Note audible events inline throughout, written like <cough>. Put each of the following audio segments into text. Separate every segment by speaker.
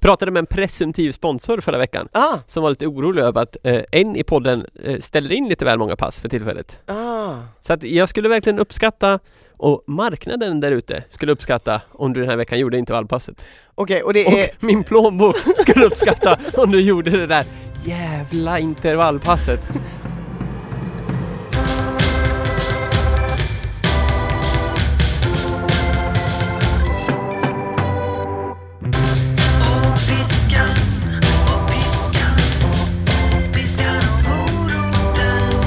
Speaker 1: Pratade med en presumtiv sponsor förra veckan
Speaker 2: Ah,
Speaker 1: som var lite orolig över att eh, en i podden eh, ställer in lite väl många pass för tillfället.
Speaker 2: ah.
Speaker 1: Så att jag skulle verkligen uppskatta och marknaden där ute skulle uppskatta om du den här veckan gjorde intervallpasset.
Speaker 2: Okej, och det är...
Speaker 1: <laughs> Och min plånbok skulle uppskatta om du gjorde det där jävla intervallpasset.
Speaker 3: Och piskan, och piskan, piskan och moroten.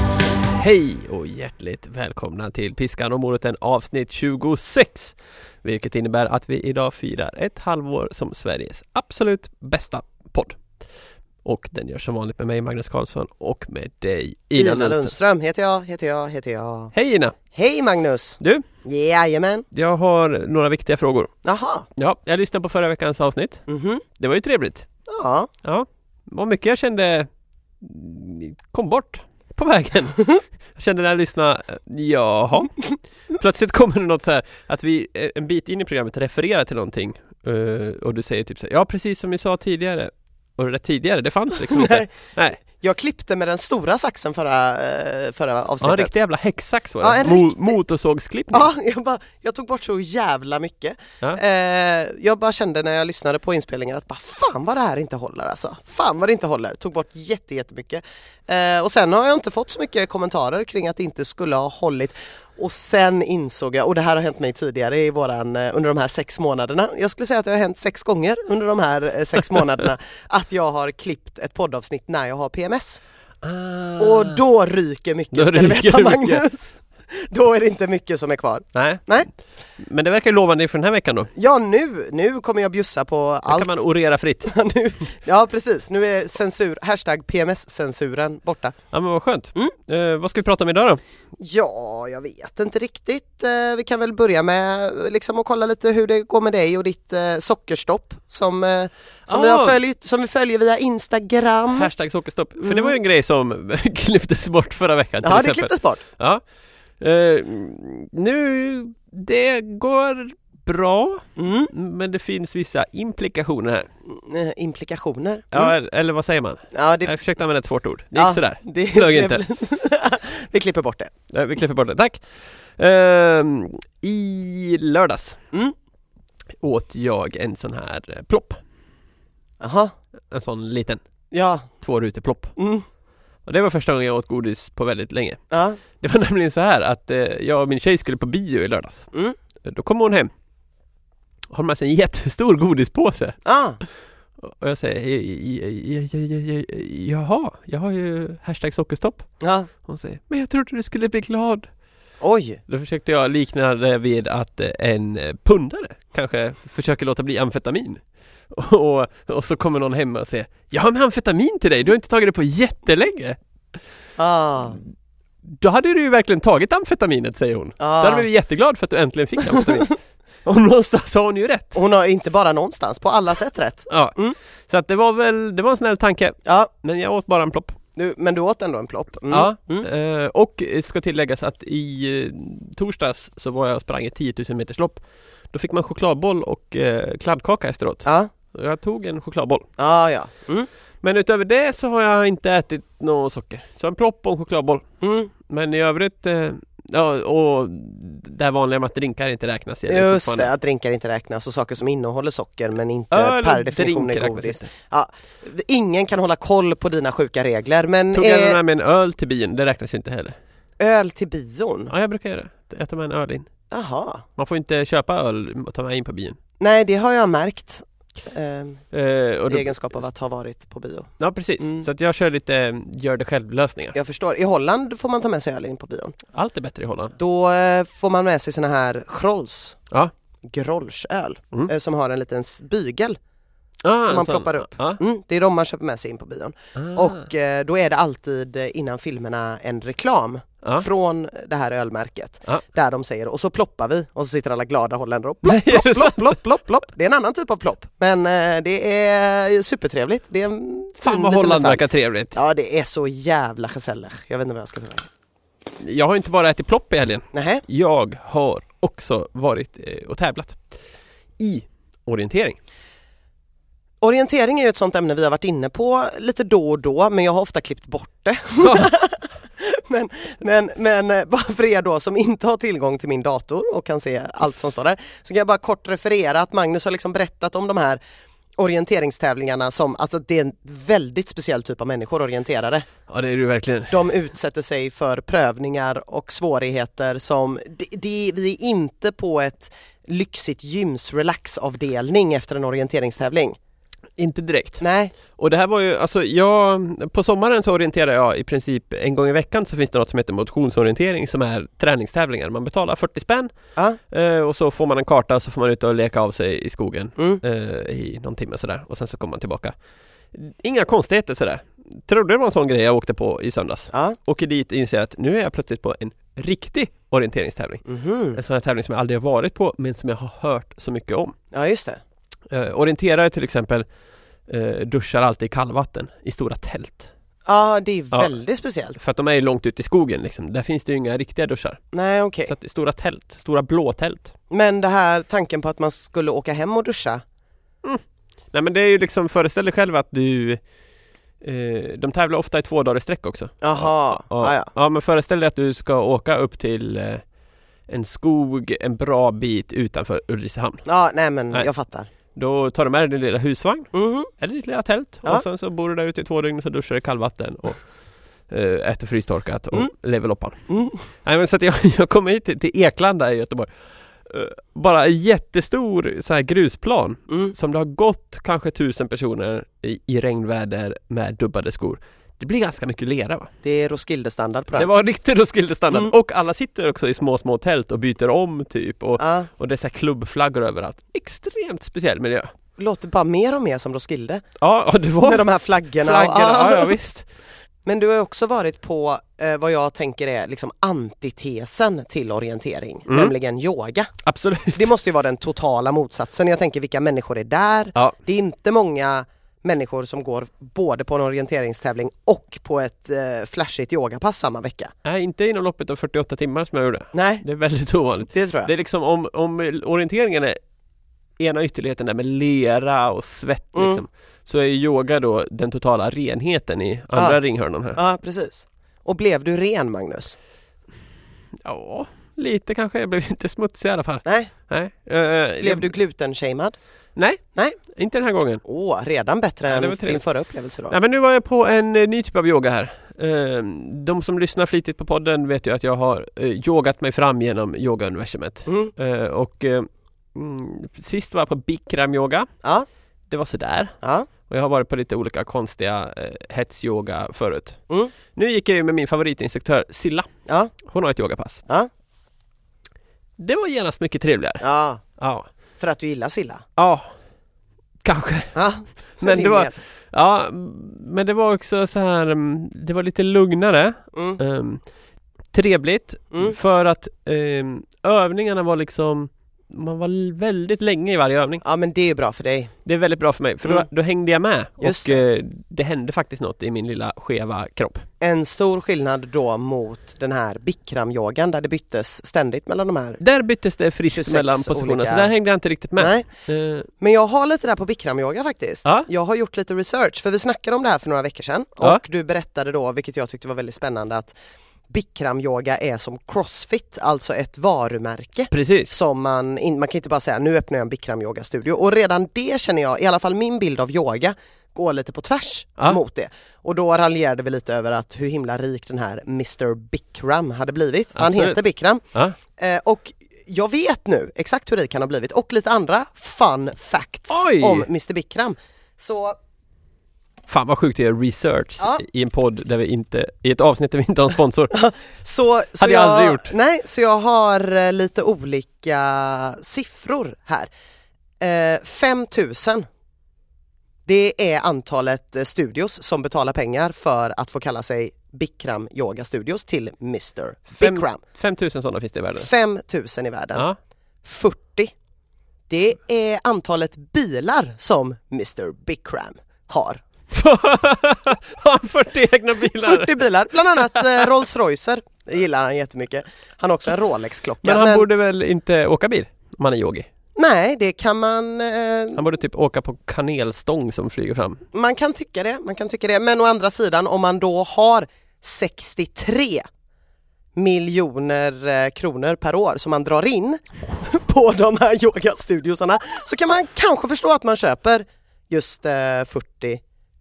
Speaker 1: Hej och hjärtligt välkomna till Piskan och moroten avsnitt 26! Vilket innebär att vi idag firar ett halvår som Sveriges absolut bästa podd. Och den görs som vanligt med mig Magnus Karlsson och med dig Ina,
Speaker 2: Ina
Speaker 1: Lundström.
Speaker 2: Lundström heter jag, heter jag, heter jag.
Speaker 1: Hej Ina!
Speaker 2: Hej Magnus!
Speaker 1: Du?
Speaker 2: Jajamän!
Speaker 1: Jag har några viktiga frågor.
Speaker 2: Jaha,
Speaker 1: Ja, jag lyssnade på förra veckans avsnitt.
Speaker 2: mhm,
Speaker 1: Det var ju trevligt. <laughs>
Speaker 2: ja.
Speaker 1: Ja, vad mycket jag kände kom bort på vägen. Jag kände när jag lyssnade, eh,
Speaker 2: <laughs>
Speaker 1: jaha. Plötsligt kommer det något så här att vi eh, en bit in i programmet refererar till någonting eh, och du säger typ så här, ja precis som vi sa tidigare. Och det där tidigare, det fanns liksom inte.
Speaker 2: <laughs> Nej.
Speaker 1: Nej,
Speaker 2: Jag klippte med den stora saxen förra, eh, förra
Speaker 1: ja, en
Speaker 2: avsnittet.
Speaker 1: riktig jävla häcksax var
Speaker 2: Ja,
Speaker 1: det.
Speaker 2: en
Speaker 1: Mo-
Speaker 2: riktig-
Speaker 1: Motorsågsklippning.
Speaker 2: Ja, <laughs> jag, bara, jag tog bort så jävla mycket.
Speaker 1: Ja.
Speaker 2: Eh, jag bara kände när jag lyssnade på inspelningen att bara, fan vad det här inte håller alltså. Fan vad det inte håller. Tog bort jätte, jättemycket. Eh, och sen har jag inte fått så mycket kommentarer kring att det inte skulle ha hållit. Och sen insåg jag, och det här har hänt mig tidigare i våran, eh, under de här sex månaderna. Jag skulle säga att det har hänt sex gånger under de här
Speaker 1: <laughs>
Speaker 2: eh, sex månaderna att jag har klippt ett poddavsnitt när jag har PMS.
Speaker 1: Ah.
Speaker 2: Och då ryker mycket
Speaker 1: Då
Speaker 2: ska du
Speaker 1: ryker
Speaker 2: veta
Speaker 1: det mycket.
Speaker 2: <laughs> Magnus. Då är det inte mycket som är kvar.
Speaker 1: Nej.
Speaker 2: Nej.
Speaker 1: Men det verkar ju lovande inför den här veckan då. Då
Speaker 2: Ja nu, nu kommer jag bjussa på allt. <laughs>
Speaker 1: kan man orera fritt.
Speaker 2: nu, ja precis, nu är censur, hashtag PMS-censuren borta.
Speaker 1: Ja men vad skönt.
Speaker 2: Mm.
Speaker 1: Eh, vad ska vi prata om idag då?
Speaker 2: Ja, jag vet inte riktigt. Eh, Vi kan väl börja med eh, liksom, att kolla lite hur det går med dig och ditt eh, sockerstopp som, eh, som, vi, har
Speaker 1: Ah.
Speaker 2: följt, som vi följer via Instagram.
Speaker 1: Hashtag sockerstopp. För det var ju en grej som <laughs> klipptes bort förra veckan till
Speaker 2: ja, det
Speaker 1: exempel.
Speaker 2: klipptes bort.
Speaker 1: Ja. Eh, nu, det går bra,
Speaker 2: Mm.
Speaker 1: men det finns vissa implikationer här.
Speaker 2: Eh, Implikationer. Mm.
Speaker 1: Ja, eller vad säger man?
Speaker 2: Ja, det,
Speaker 1: Jag försökte använda ett svårt ord. Det gick
Speaker 2: Ja,
Speaker 1: sådär.
Speaker 2: eh, det-
Speaker 1: flög
Speaker 2: det-
Speaker 1: inte.
Speaker 2: <laughs> vi klipper bort det.
Speaker 1: Eh, Vi klipper bort det, tack. Ehm, I lördags
Speaker 2: Mm.
Speaker 1: åt jag en sån här eh, plopp.
Speaker 2: Jaha,
Speaker 1: En sån liten
Speaker 2: ja.
Speaker 1: tvårutig plopp.
Speaker 2: Mm.
Speaker 1: Och det var första gången jag åt godis på väldigt länge.
Speaker 2: ja.
Speaker 1: Det var <laughs> nämligen så här att eh, jag och min tjej skulle på bio i lördags.
Speaker 2: Mm.
Speaker 1: Då kommer hon hem och har med sig en jättestor godispåse
Speaker 2: Ah.
Speaker 1: och jag säger "J- j- j- j- j- jaha, jag har ju hashtag sockerstopp.
Speaker 2: ja.
Speaker 1: Hon säger men jag trodde du skulle bli glad.
Speaker 2: Oj.
Speaker 1: Då försökte jag likna det vid att eh, en eh, pundare kanske försöker låta bli amfetamin. Och, och så kommer någon hem och säger jag har med amfetamin till dig, du har inte tagit det på jättelänge.
Speaker 2: Ah.
Speaker 1: Då hade du ju verkligen tagit amfetaminet säger hon. Då
Speaker 2: Ah.
Speaker 1: hade jag blivit jätteglad för att du äntligen fick amfetamin. och någonstans har hon ju rätt.
Speaker 2: <laughs> Hon har inte bara någonstans, på alla sätt rätt.
Speaker 1: Ja,
Speaker 2: Mm.
Speaker 1: så att det var väl, det var en snäll tanke.
Speaker 2: Ja,
Speaker 1: Men jag åt bara en plopp.
Speaker 2: du, men du åt ändå en plopp. Mm.
Speaker 1: Ja.
Speaker 2: Mm.
Speaker 1: Eh, och ska tilläggas att i eh, torsdags så var jag och sprang ett 10 000 meterslopp. Då fick man chokladboll och eh, kladdkaka efteråt.
Speaker 2: Ja,
Speaker 1: Jag tog en chokladboll.
Speaker 2: ja. ja. Mm.
Speaker 1: Men utöver det så har jag inte ätit något socker. Så en plopp och en chokladboll.
Speaker 2: Mm.
Speaker 1: Men i övrigt, eh, ja och det här vanliga med att drinkar inte räknas. gäller ju
Speaker 2: Just
Speaker 1: fortfarande.
Speaker 2: det, att drinkar inte räknas och saker som innehåller socker men inte per
Speaker 1: Öl och
Speaker 2: definition
Speaker 1: drink
Speaker 2: är
Speaker 1: räknas
Speaker 2: godis.
Speaker 1: inte.
Speaker 2: Ja, ingen kan hålla koll på dina sjuka regler men
Speaker 1: Tog jag
Speaker 2: eh,
Speaker 1: med mig en öl till bion, det räknas ju inte heller.
Speaker 2: öl till bion?
Speaker 1: Ja, jag brukar göra det. Jag tar med en öl in.
Speaker 2: Jaha.
Speaker 1: Man får inte köpa öl och ta med in på bion.
Speaker 2: Nej det har jag märkt. Ehm,
Speaker 1: Eh, och
Speaker 2: I
Speaker 1: då,
Speaker 2: egenskap av att ha varit på bio.
Speaker 1: ja precis,
Speaker 2: Mm.
Speaker 1: så att jag kör lite eh, gör det själv-lösningar.
Speaker 2: Jag förstår. I Holland får man ta med sig öl in på bion.
Speaker 1: Allt är bättre i Holland.
Speaker 2: Då eh, får man med sig såna här Grolls.
Speaker 1: Ja.
Speaker 2: Grolschöl.
Speaker 1: Mm.
Speaker 2: Eh, som har en liten s- bygel.
Speaker 1: Ah,
Speaker 2: Som
Speaker 1: en
Speaker 2: man
Speaker 1: sån.
Speaker 2: ploppar upp.
Speaker 1: Ja.
Speaker 2: Mm, det är de man köper med sig in på bion.
Speaker 1: Ah.
Speaker 2: Och eh, då är det alltid eh, innan filmerna en reklam
Speaker 1: Ja.
Speaker 2: från det här ölmärket.
Speaker 1: Ja.
Speaker 2: Där de säger och så ploppar vi och så sitter alla glada holländare och
Speaker 1: <laughs> Nej,
Speaker 2: plopp,
Speaker 1: är det
Speaker 2: <laughs> plopp, plopp,
Speaker 1: sant?
Speaker 2: plopp, plopp, plopp. Det är en annan typ av plopp. Men eh, det är supertrevligt. Det är en
Speaker 1: Fan
Speaker 2: fin
Speaker 1: vad
Speaker 2: liten
Speaker 1: Holland
Speaker 2: detalj.
Speaker 1: verkar trevligt.
Speaker 2: Ja det är så jävla gesellig. Jag vet inte vad jag ska säga.
Speaker 1: Jag har inte bara ätit plopp i helgen.
Speaker 2: Nähä?
Speaker 1: Jag har också varit eh, och tävlat i orientering.
Speaker 2: Orientering är ju ett sånt ämne vi har varit inne på lite då och då men jag har ofta klippt bort det. <laughs> men, men, men eh, bara för er då som inte har tillgång till min dator och kan se allt som står där så kan jag bara kort referera att Magnus har liksom berättat om de här orienteringstävlingarna som, alltså det är en väldigt speciell typ av människor, orienterare.
Speaker 1: Ja det är du verkligen.
Speaker 2: De utsätter sig för prövningar och svårigheter som, det, det, vi är inte på ett lyxigt gyms relaxavdelning efter en orienteringstävling.
Speaker 1: Inte direkt.
Speaker 2: Nej,
Speaker 1: Och det här var ju, alltså jag, på sommaren så orienterar jag i princip en gång i veckan så finns det något som heter motionsorientering som är träningstävlingar. Man betalar 40 spänn
Speaker 2: ja,
Speaker 1: eh, och så får man en karta och så får man ut och leka av sig i skogen
Speaker 2: mm.
Speaker 1: eh, i någon timme sådär och sen så kommer man tillbaka. Inga konstigheter sådär. Trodde det var en sån grej jag åkte på i söndags.
Speaker 2: ja,
Speaker 1: Åker dit och inser att nu är jag plötsligt på en riktig orienteringstävling.
Speaker 2: mhm,
Speaker 1: En sån här tävling som jag aldrig har varit på men som jag har hört så mycket om.
Speaker 2: ja just det.
Speaker 1: Eh, orienterare till exempel eh, duschar alltid i kallvatten i stora tält.
Speaker 2: Ja det är
Speaker 1: Ja.
Speaker 2: väldigt speciellt.
Speaker 1: För att de är ju långt ut i skogen liksom. Där finns det ju inga riktiga duschar.
Speaker 2: Nej okej.
Speaker 1: Så att det är stora tält, stora blå tält.
Speaker 2: Men det här tanken på att man skulle åka hem och duscha.
Speaker 1: Nej men det är ju liksom, föreställ dig själv att du eh, De tävlar ofta i två dagar i sträck också.
Speaker 2: Jaha, ja ja.
Speaker 1: ja men föreställ dig att du ska åka upp till eh, en skog en bra bit utanför Ulricehamn.
Speaker 2: Ja nej men
Speaker 1: Nej.
Speaker 2: jag fattar.
Speaker 1: Då tar du med dig din lilla husvagn
Speaker 2: Mhm.
Speaker 1: eller ditt lilla tält
Speaker 2: Ja.
Speaker 1: och sen så bor du där ute i två dygn och så duschar du i kallvatten och eh, äter frystorkat och
Speaker 2: Mm.
Speaker 1: lever loppan.
Speaker 2: Mm.
Speaker 1: Nej men så att jag, <laughs> jag kom hit till, till Eklanda i Göteborg. Eh, Bara en jättestor så här grusplan
Speaker 2: Mm.
Speaker 1: som det har gått kanske tusen personer i, i regnväder med dubbade skor. Det blir ganska mycket lera va?
Speaker 2: Det är Roskilde-standard på
Speaker 1: Det
Speaker 2: den.
Speaker 1: var riktigt Roskildestandard
Speaker 2: Mm.
Speaker 1: och alla sitter också i små, små tält och byter om typ och,
Speaker 2: Ja,
Speaker 1: och det är så här klubbflaggor överallt. Extremt speciell miljö.
Speaker 2: låter bara mer och mer som
Speaker 1: <laughs>
Speaker 2: Roskilde.
Speaker 1: Ja, ja, det var
Speaker 2: Med de här flaggorna. och-
Speaker 1: Oh. flaggorna. Ja, ja visst.
Speaker 2: Men du har ju också varit på eh, vad jag tänker är liksom antitesen till orientering,
Speaker 1: Mm.
Speaker 2: nämligen yoga.
Speaker 1: <laughs> Absolut.
Speaker 2: Det måste ju vara den totala motsatsen. Jag tänker vilka människor är där?
Speaker 1: Ja.
Speaker 2: Det är inte många människor som går både på en orienteringstävling och på ett eh, flashigt yogapass samma vecka.
Speaker 1: Nej, inte inom loppet av 48 timmar som jag gjorde.
Speaker 2: Nej,
Speaker 1: Det är väldigt ovanligt.
Speaker 2: det tror jag.
Speaker 1: Det är liksom om, om orienteringen är ena ytterligheten där med lera och svett
Speaker 2: Mm.
Speaker 1: liksom, så är yoga då den totala renheten i andra
Speaker 2: Ja.
Speaker 1: ringhörnan här.
Speaker 2: Ja, precis. Och blev du ren Magnus?
Speaker 1: Ja, lite kanske. Jag blev <laughs> inte smutsig i alla fall.
Speaker 2: Nej,
Speaker 1: Nej. Eh,
Speaker 2: blev du glutenshamead?
Speaker 1: Nej.
Speaker 2: Nej.
Speaker 1: Inte den här gången.
Speaker 2: Åh, redan bättre
Speaker 1: Ja, det
Speaker 2: än
Speaker 1: var trevligt.
Speaker 2: din förra upplevelse då.
Speaker 1: Nej men nu var jag på en eh, ny typ av yoga här. Eh, De som lyssnar flitigt på podden vet ju att jag har eh, yogat mig fram genom yogauniversumet.
Speaker 2: Mm.
Speaker 1: Eh, Och eh, mm, sist var jag på bikramyoga.
Speaker 2: Ja,
Speaker 1: Det var sådär.
Speaker 2: ja,
Speaker 1: Och jag har varit på lite olika konstiga eh, hetsyoga förut.
Speaker 2: Mm.
Speaker 1: Nu gick jag ju med min favoritinstruktör Silla.
Speaker 2: ja,
Speaker 1: Hon har ett yogapass.
Speaker 2: Ja.
Speaker 1: Det var genast mycket trevligare.
Speaker 2: ja.
Speaker 1: Ja.
Speaker 2: För att du gillar Silla?
Speaker 1: Ja. Kanske.
Speaker 2: Ja,
Speaker 1: Men det
Speaker 2: rimligen.
Speaker 1: var, ja, men det var också så här, mm, det var lite lugnare.
Speaker 2: Mm.
Speaker 1: Ehm, trevligt
Speaker 2: Mm.
Speaker 1: för att ehm, övningarna var liksom man var l- väldigt länge i varje övning.
Speaker 2: Ja men det är bra för dig.
Speaker 1: Det är väldigt bra för mig för
Speaker 2: Mm.
Speaker 1: då, då hängde jag med
Speaker 2: Just
Speaker 1: och det. det hände faktiskt något i min lilla skeva kropp.
Speaker 2: En stor skillnad då mot den här bikramyogan där det byttes ständigt mellan de här.
Speaker 1: Där byttes det friskt
Speaker 2: 26
Speaker 1: mellan positionerna
Speaker 2: olika-
Speaker 1: så där hängde jag inte riktigt med.
Speaker 2: Nej.
Speaker 1: Eh,
Speaker 2: Men jag har lite där på bikramyoga faktiskt.
Speaker 1: Ja.
Speaker 2: Jag har gjort lite research för vi snackade om det här för några veckor sedan och
Speaker 1: Ja.
Speaker 2: du berättade då, vilket jag tyckte var väldigt spännande, att bikramyoga är som crossfit, alltså ett varumärke.
Speaker 1: precis.
Speaker 2: Som man, in, man kan inte bara säga nu öppnar jag en Bikram yoga studio och redan det känner jag, i alla fall min bild av yoga går lite på tvärs
Speaker 1: Ja.
Speaker 2: mot det. Och då raljerade vi lite över att hur himla rik den här Mr Bikram hade blivit. Han
Speaker 1: Absolut.
Speaker 2: heter Bikram.
Speaker 1: Ja.
Speaker 2: Eh, och jag vet nu exakt hur rik han har blivit och lite andra fun facts
Speaker 1: Oj!
Speaker 2: om Mr Bikram. Så
Speaker 1: Fan vad sjukt att göra research
Speaker 2: Ja.
Speaker 1: i en podd där vi inte, i ett avsnitt där vi inte har en
Speaker 2: <laughs>
Speaker 1: sponsor.
Speaker 2: Så, så
Speaker 1: Hade jag aldrig gjort.
Speaker 2: Nej, så jag har eh, lite olika siffror här. Eh, 5000 det är antalet eh, studios som betalar pengar för att få kalla sig Bikram Yoga Studios till Mr
Speaker 1: Fem-
Speaker 2: Bikram.
Speaker 1: 5000 sådana finns det i världen.
Speaker 2: 5000 i världen.
Speaker 1: Ja. <laughs>
Speaker 2: 40 det är antalet bilar som Mr Bikram har.
Speaker 1: Har han 40 egna bilar?
Speaker 2: 40 bilar, bland annat eh, Rolls Roycer. Det gillar han jättemycket. Han har också en Rolex-klocka.
Speaker 1: Men han borde väl inte åka bil om han är yogi?
Speaker 2: Nej, det kan man... Eh,
Speaker 1: Han borde typ åka på kanelstång som flyger fram.
Speaker 2: man kan tycka det, man kan tycka det. Men å andra sidan om man då har 63 miljoner eh, kronor per år som man drar in <laughs> på de här yogastudiosarna så kan man kanske förstå att man köper just eh, 40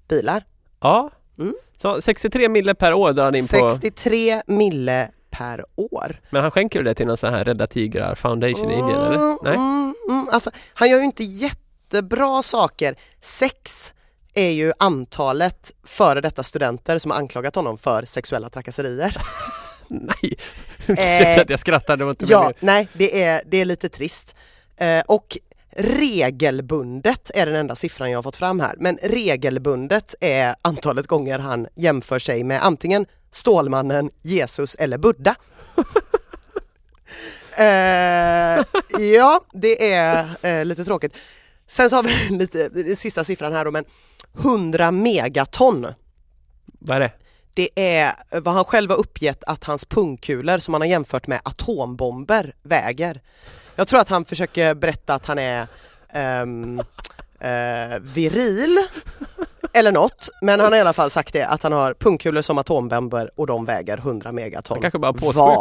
Speaker 2: bilar.
Speaker 1: Ja.
Speaker 2: Mm.
Speaker 1: Så 63 mille per år drar han in på.
Speaker 2: 63 mille per år.
Speaker 1: Men han skänker ju det till någon sån här Rädda Tigrar Foundation i Indien eller? Nej? <laughs>
Speaker 2: Mm, mm, alltså, han gör ju inte jättebra saker. Sex är ju antalet före detta studenter som har anklagat honom för sexuella trakasserier.
Speaker 1: Nej! Ursäkta att jag skrattar, det var inte
Speaker 2: Eh. Ja,
Speaker 1: meningen.
Speaker 2: nej det är, det är lite trist. Eh, och regelbundet är den enda siffran jag har fått fram här. Men regelbundet är antalet gånger han jämför sig med antingen Stålmannen, Jesus eller Buddha. <laughs> eh, ja, det är eh, lite tråkigt. Sen så har vi <laughs> lite, den sista siffran här då, men 100 megaton
Speaker 1: Vad är det?
Speaker 2: det är eh, vad han själv har uppgett att hans pungkulor som han har jämfört med atombomber väger. Jag tror att han försöker berätta att han är ehm, eh, viril eller något, men han har i alla fall sagt det att han har pungkulor som atombomber och de väger 100 megaton
Speaker 1: Han kanske bara påskmökar.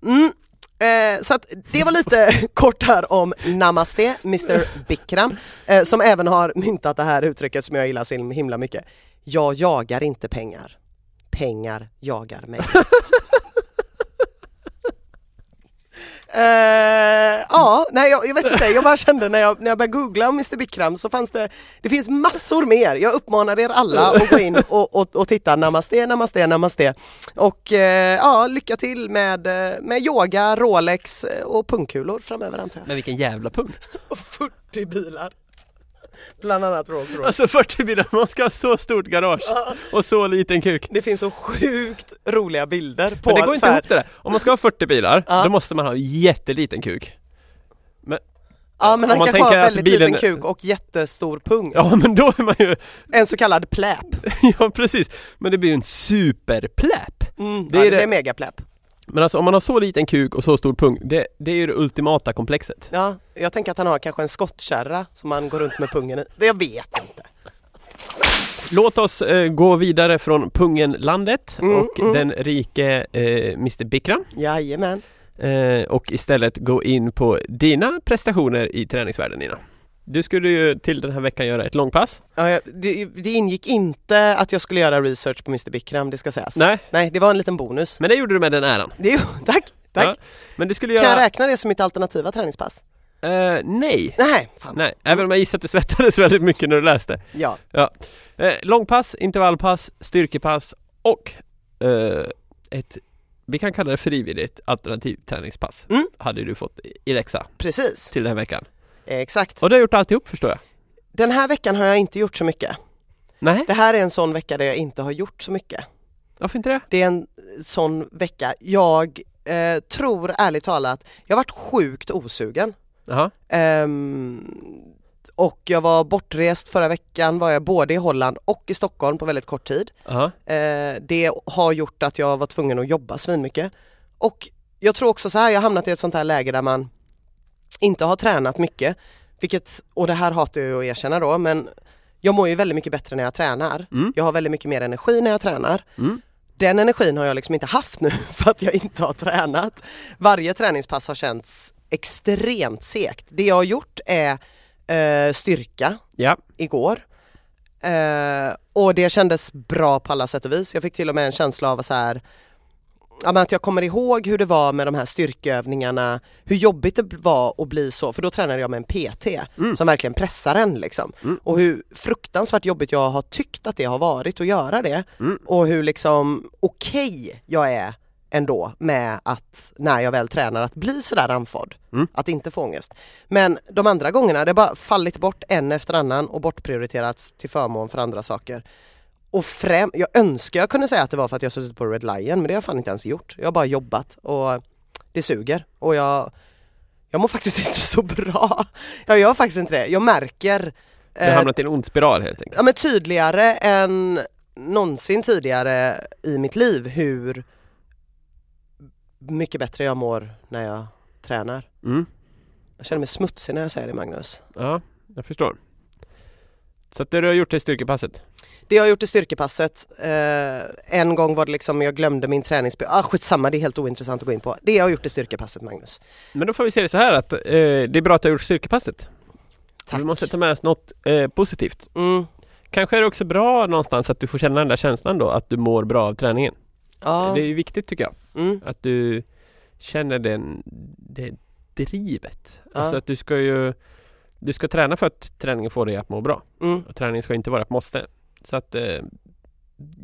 Speaker 2: var. Mm. Eh, så att det var lite <laughs> kort här om Namaste, Mr Bikram, eh, som även har myntat det här uttrycket som jag gillar så himla mycket. Jag jagar inte pengar. Pengar jagar <laughs> mig. Eh, ja, nej jag, jag vet inte, jag bara kände när jag, när jag började googla om Mr Bikram så fanns det, det finns massor mer. Jag uppmanar er alla att gå in och, och, och titta, namaste, namaste, namaste. Och eh, ja, lycka till med, eh, med yoga, Rolex eh, och pungkulor framöver antar jag.
Speaker 1: Men vilken jävla pung!
Speaker 2: Och 40 bilar. Bland annat Rolls Royce.
Speaker 1: Alltså 40 bilar, man ska ha så stort garage och så liten kuk.
Speaker 2: Det finns så sjukt roliga bilder på
Speaker 1: Men det går
Speaker 2: så
Speaker 1: inte
Speaker 2: här.
Speaker 1: ihop det där. Om man ska ha 40 bilar,
Speaker 2: Ja.
Speaker 1: då måste man ha jätteliten kuk.
Speaker 2: Ja
Speaker 1: Om
Speaker 2: men han
Speaker 1: man
Speaker 2: kanske
Speaker 1: tänker
Speaker 2: har en
Speaker 1: att
Speaker 2: väldigt
Speaker 1: bilen-
Speaker 2: liten kuk och jättestor pung.
Speaker 1: Ja men då är man ju, <laughs>
Speaker 2: En så kallad pläp.
Speaker 1: ja precis. Men det blir ju en superpläp.
Speaker 2: Mm,
Speaker 1: Det
Speaker 2: ja,
Speaker 1: är
Speaker 2: det
Speaker 1: det.
Speaker 2: är megapläp.
Speaker 1: Men alltså om man har så liten kuk och så stor pung, det, det är ju det ultimata komplexet.
Speaker 2: Ja, jag tänker att han har kanske en skottkärra som han går runt med pungen i. Det Jag vet inte.
Speaker 1: Låt oss eh, gå vidare från pungenlandet
Speaker 2: Mm,
Speaker 1: och
Speaker 2: mm.
Speaker 1: den rike eh, Mr Bikram
Speaker 2: Jajamän.
Speaker 1: eh, och istället gå in på dina prestationer i träningsvärlden Nina. Du skulle ju till den här veckan göra ett långpass.
Speaker 2: Ja, jag- det, det ingick inte att jag skulle göra research på Mr Bikram, det ska sägas.
Speaker 1: Nej,
Speaker 2: Nej, det var en liten bonus.
Speaker 1: men det gjorde du med den äran.
Speaker 2: Det, är ju- <laughs> tack, tack.
Speaker 1: Ja. Men du skulle
Speaker 2: Kan jag
Speaker 1: göra...
Speaker 2: räkna det som mitt alternativa träningspass?
Speaker 1: Eh, nej.
Speaker 2: Nej, fan.
Speaker 1: Nej, även om jag gissar att du svettades <laughs> väldigt mycket när du läste.
Speaker 2: Ja.
Speaker 1: Eh, långpass, intervallpass, styrkepass och eh, ett, vi kan kalla det frivilligt alternativ träningspass,
Speaker 2: Mm.
Speaker 1: hade du fått i- i läxa
Speaker 2: Precis,
Speaker 1: till den här veckan.
Speaker 2: Eh, exakt.
Speaker 1: Och du har gjort alltihop förstår jag.
Speaker 2: Den här veckan har jag inte gjort så mycket.
Speaker 1: Nej,
Speaker 2: Det här är en sån vecka där jag inte har gjort så mycket.
Speaker 1: varför inte det?
Speaker 2: Det är en eh, sån vecka. Jag eh, tror ärligt talat, jag har varit sjukt osugen.
Speaker 1: Jaha.
Speaker 2: Ehm, och jag var bortrest förra veckan, var jag både i Holland och i Stockholm på väldigt kort tid.
Speaker 1: Jaha.
Speaker 2: Eh, det har gjort att jag var tvungen att jobba svinmycket. Och jag tror också så här, jag har hamnat i ett sånt här läge där man inte har tränat mycket. Vilket, och det här hatar jag ju att erkänna då, men jag mår ju väldigt mycket bättre när jag tränar.
Speaker 1: Mm.
Speaker 2: Jag har väldigt mycket mer energi när jag tränar.
Speaker 1: Mm.
Speaker 2: Den energin har jag liksom inte haft nu <laughs> för att jag inte har tränat. Varje träningspass har känts extremt segt. Det jag har gjort är eh, styrka
Speaker 1: Ja,
Speaker 2: igår. Eh, och det kändes bra på alla sätt och vis. Jag fick till och med en känsla av så här, ja, men att jag kommer ihåg hur det var med de här styrkeövningarna, hur jobbigt det var att bli så, för då tränade jag med en PT som verkligen pressar en liksom. Och hur fruktansvärt jobbigt jag har tyckt att det har varit att göra det och hur liksom okej jag är ändå med att när jag väl tränar att bli sådär andfådd. Att inte få ångest. Men de andra gångerna har det bara fallit bort en efter annan och bortprioriterats till förmån för andra saker. Och främ- jag önskar jag kunde säga att det var för att jag suttit på Red Lion men det har jag fan inte ens gjort. Jag har bara jobbat och det suger och jag, jag mår faktiskt <laughs> inte så bra. Jag gör faktiskt inte det. Jag märker
Speaker 1: du har
Speaker 2: eh,
Speaker 1: hamnat i en ond spiral helt enkelt.
Speaker 2: ja, men tydligare än någonsin tidigare i mitt liv hur mycket bättre jag mår när jag tränar.
Speaker 1: Mm.
Speaker 2: Jag känner mig smutsig när jag säger det Magnus.
Speaker 1: Ja, jag förstår. Så att det du har gjort är styrkepasset?
Speaker 2: Det jag har gjort i styrkepasset, eh, en gång var det liksom jag glömde min träningsby. Ah skitsamma, det är helt ointressant att gå in på. Det jag har gjort i styrkepasset Magnus.
Speaker 1: Men då får vi se det så här att eh, det är bra att du har gjort styrkepasset.
Speaker 2: Tack.
Speaker 1: Vi måste ta med oss något eh, positivt.
Speaker 2: Mm.
Speaker 1: Kanske är det också bra någonstans att du får känna den där känslan då, att du mår bra av träningen.
Speaker 2: Ja.
Speaker 1: Det är ju viktigt tycker jag.
Speaker 2: Mm.
Speaker 1: Att du känner den, det drivet.
Speaker 2: Ja.
Speaker 1: Alltså att du ska ju Du ska träna för att träningen får dig att må bra.
Speaker 2: Mm.
Speaker 1: Och träning ska inte vara ett måste. Så att eh,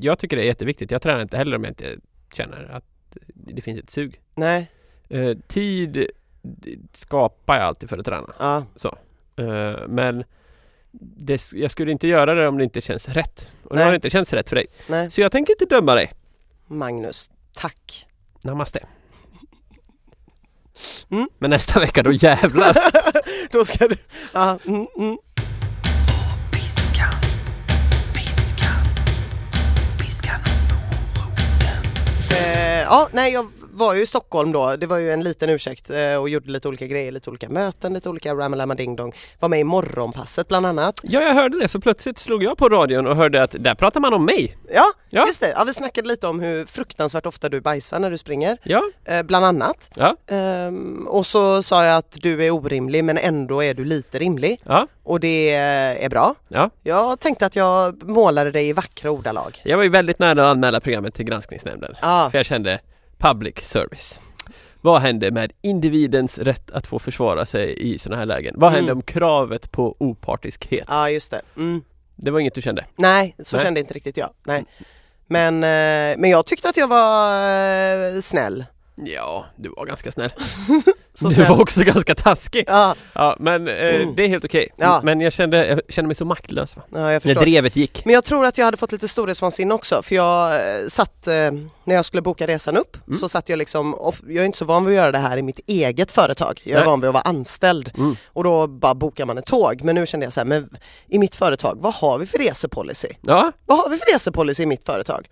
Speaker 1: Jag tycker det är jätteviktigt. Jag tränar inte heller om jag inte känner att det finns ett sug.
Speaker 2: Nej,
Speaker 1: Eh, tid d- skapar jag alltid för att träna.
Speaker 2: ja.
Speaker 1: Eh, men det, s- jag skulle inte göra det om det inte känns rätt. Och nu
Speaker 2: Nej.
Speaker 1: har det inte känts rätt för dig.
Speaker 2: Nej.
Speaker 1: Så jag tänker inte döma dig.
Speaker 2: Magnus, tack.
Speaker 1: <laughs> Namaste.
Speaker 2: Mm.
Speaker 1: Men nästa vecka då jävlar.
Speaker 2: Då ska du... Ja, mm, mm.
Speaker 3: Piska, piska, piska någon moroten.
Speaker 2: Eh, ja, nej jag var ju i Stockholm då, det var ju en liten ursäkt eh, och gjorde lite olika grejer, lite olika möten, lite olika ramalama ding dong. Var med i morgonpasset bland annat.
Speaker 1: <laughs> ja, jag hörde det för plötsligt slog jag på radion och hörde att där pratar man om mig.
Speaker 2: Ja,
Speaker 1: Ja.
Speaker 2: just det. Ja, vi snackade lite om hur fruktansvärt ofta du bajsar när du springer,
Speaker 1: Ja,
Speaker 2: eh, bland annat.
Speaker 1: ja,
Speaker 2: Ehm, och så sa jag att du är orimlig men ändå är du lite rimlig
Speaker 1: ja,
Speaker 2: och det eh, är bra.
Speaker 1: ja.
Speaker 2: Jag tänkte att jag målade dig i vackra ordalag.
Speaker 1: Jag var ju väldigt nära att anmäla programmet till granskningsnämnden.
Speaker 2: Ja,
Speaker 1: För jag kände public service. Vad händer med individens rätt att få försvara sig i sådana här lägen? Vad
Speaker 2: Mm.
Speaker 1: händer om kravet på opartiskhet?
Speaker 2: ja just det. Mm.
Speaker 1: Det var inget du kände?
Speaker 2: Nej, så
Speaker 1: Nej.
Speaker 2: kände inte riktigt jag. Nej. Men, eh, men jag tyckte att jag var eh, snäll.
Speaker 1: Ja, du var ganska snäll. <laughs>
Speaker 2: Så
Speaker 1: du
Speaker 2: snäll.
Speaker 1: var också ganska taskig.
Speaker 2: Ja,
Speaker 1: Ja, men eh,
Speaker 2: Mm.
Speaker 1: det är helt okej.
Speaker 2: Ja.
Speaker 1: Men jag kände, jag kände mig så maktlös va?
Speaker 2: ja, jag
Speaker 1: när
Speaker 2: förstår.
Speaker 1: drevet gick.
Speaker 2: Men jag tror att jag hade fått lite storhetsvansinne också för jag eh, satt, eh, när jag skulle boka resan upp
Speaker 1: Mm.
Speaker 2: så satt jag liksom, och jag är inte så van vid att göra det här i mitt eget företag. Jag är
Speaker 1: Nej.
Speaker 2: van vid att vara anställd
Speaker 1: Mm.
Speaker 2: och då bara bokar man ett tåg. Men nu kände jag så här, men i mitt företag, vad har vi för resepolicy?
Speaker 1: Ja,
Speaker 2: Vad har vi för resepolicy i mitt företag?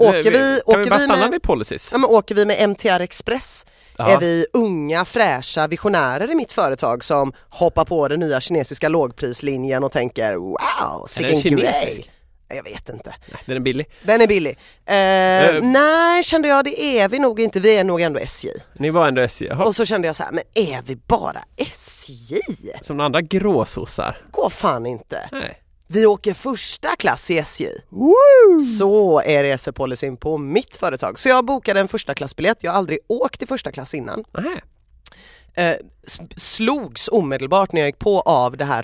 Speaker 1: eh,
Speaker 2: Åker vi,
Speaker 1: kan
Speaker 2: åker
Speaker 1: vi bara
Speaker 2: vi
Speaker 1: stanna
Speaker 2: med,
Speaker 1: vid policies?
Speaker 2: ja, men åker vi med MTR Express
Speaker 1: Ja.
Speaker 2: Är vi unga fräscha visionärer i mitt företag som hoppar på den nya kinesiska lågprislinjen och tänker wow,
Speaker 1: den
Speaker 2: sicken grej.
Speaker 1: kinesisk?
Speaker 2: Jag vet inte.
Speaker 1: Nej, den är billig.
Speaker 2: Den är billig. Eh,
Speaker 1: Eh.
Speaker 2: Nej kände jag, det är vi nog inte. Vi är nog ändå SJ.
Speaker 1: Ni var ändå SJ, Jaha.
Speaker 2: Och så kände jag så här, men är vi bara SJ?
Speaker 1: som andra gråsossar.
Speaker 2: Går fan inte.
Speaker 1: Nej.
Speaker 2: Vi åker första klass i SJ.
Speaker 1: Mm. Woo!
Speaker 2: Så är resepolicyn på mitt företag. Så jag bokade en första klassbiljett. Jag har aldrig åkt i första klass innan.
Speaker 1: Nej.
Speaker 2: eh, s- slogs omedelbart när jag gick på av det här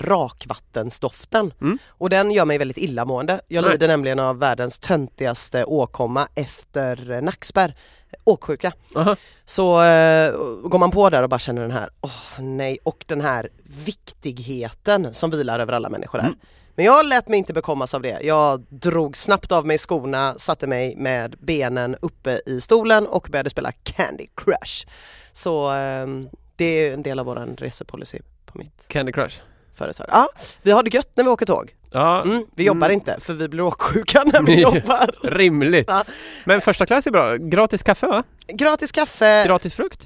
Speaker 2: rakvattensdoften. Och den gör mig väldigt illamående. Jag
Speaker 1: Mm. Nej.
Speaker 2: lider nämligen av världens töntigaste åkomma efter eh, nackspärr, åksjuka.
Speaker 1: Aha.
Speaker 2: Så eh, går man på där och bara känner den här, åh nej, och den här viktigheten som vilar över alla människor
Speaker 1: Mm.
Speaker 2: här. Men jag lät mig inte bekommas av det. Jag drog snabbt av mig skorna, satte mig med benen uppe i stolen och började spela Candy Crush. Så eh, det är en del av vår resepolicy på mitt
Speaker 1: Candy Crush.
Speaker 2: företag. Ja, vi har det gött när vi åker tåg.
Speaker 1: Ja,
Speaker 2: Mm, vi jobbar inte för vi blir åksjuka <laughs> när
Speaker 1: <laughs>
Speaker 2: vi
Speaker 1: Mm.
Speaker 2: jobbar.
Speaker 1: rimligt.
Speaker 2: Ja.
Speaker 1: Men första klass är bra. Gratis kaffe va?
Speaker 2: Gratis kaffe,
Speaker 1: Gratis frukt?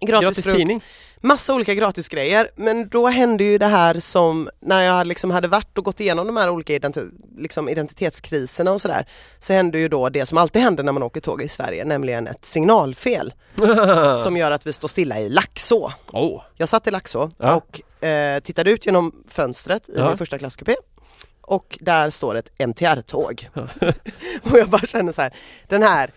Speaker 2: gratis,
Speaker 1: Eh, Gratis, <laughs>
Speaker 2: frukt.
Speaker 1: tidning?
Speaker 2: massa olika gratisgrejer men då hände ju det här som när jag liksom hade varit och gått igenom de här olika identi- liksom identitetskriserna och sådär så hände ju då det som alltid händer när man åker tåg i Sverige nämligen ett signalfel som gör att vi står stilla i Laxå.
Speaker 1: Åh.
Speaker 2: Jag satt i Laxå
Speaker 1: Ja.
Speaker 2: och eh, tittade ut genom fönstret i
Speaker 1: Ja.
Speaker 2: min första klasskupé och där står ett MTR-tåg. <laughs> och jag bara känner så här, den här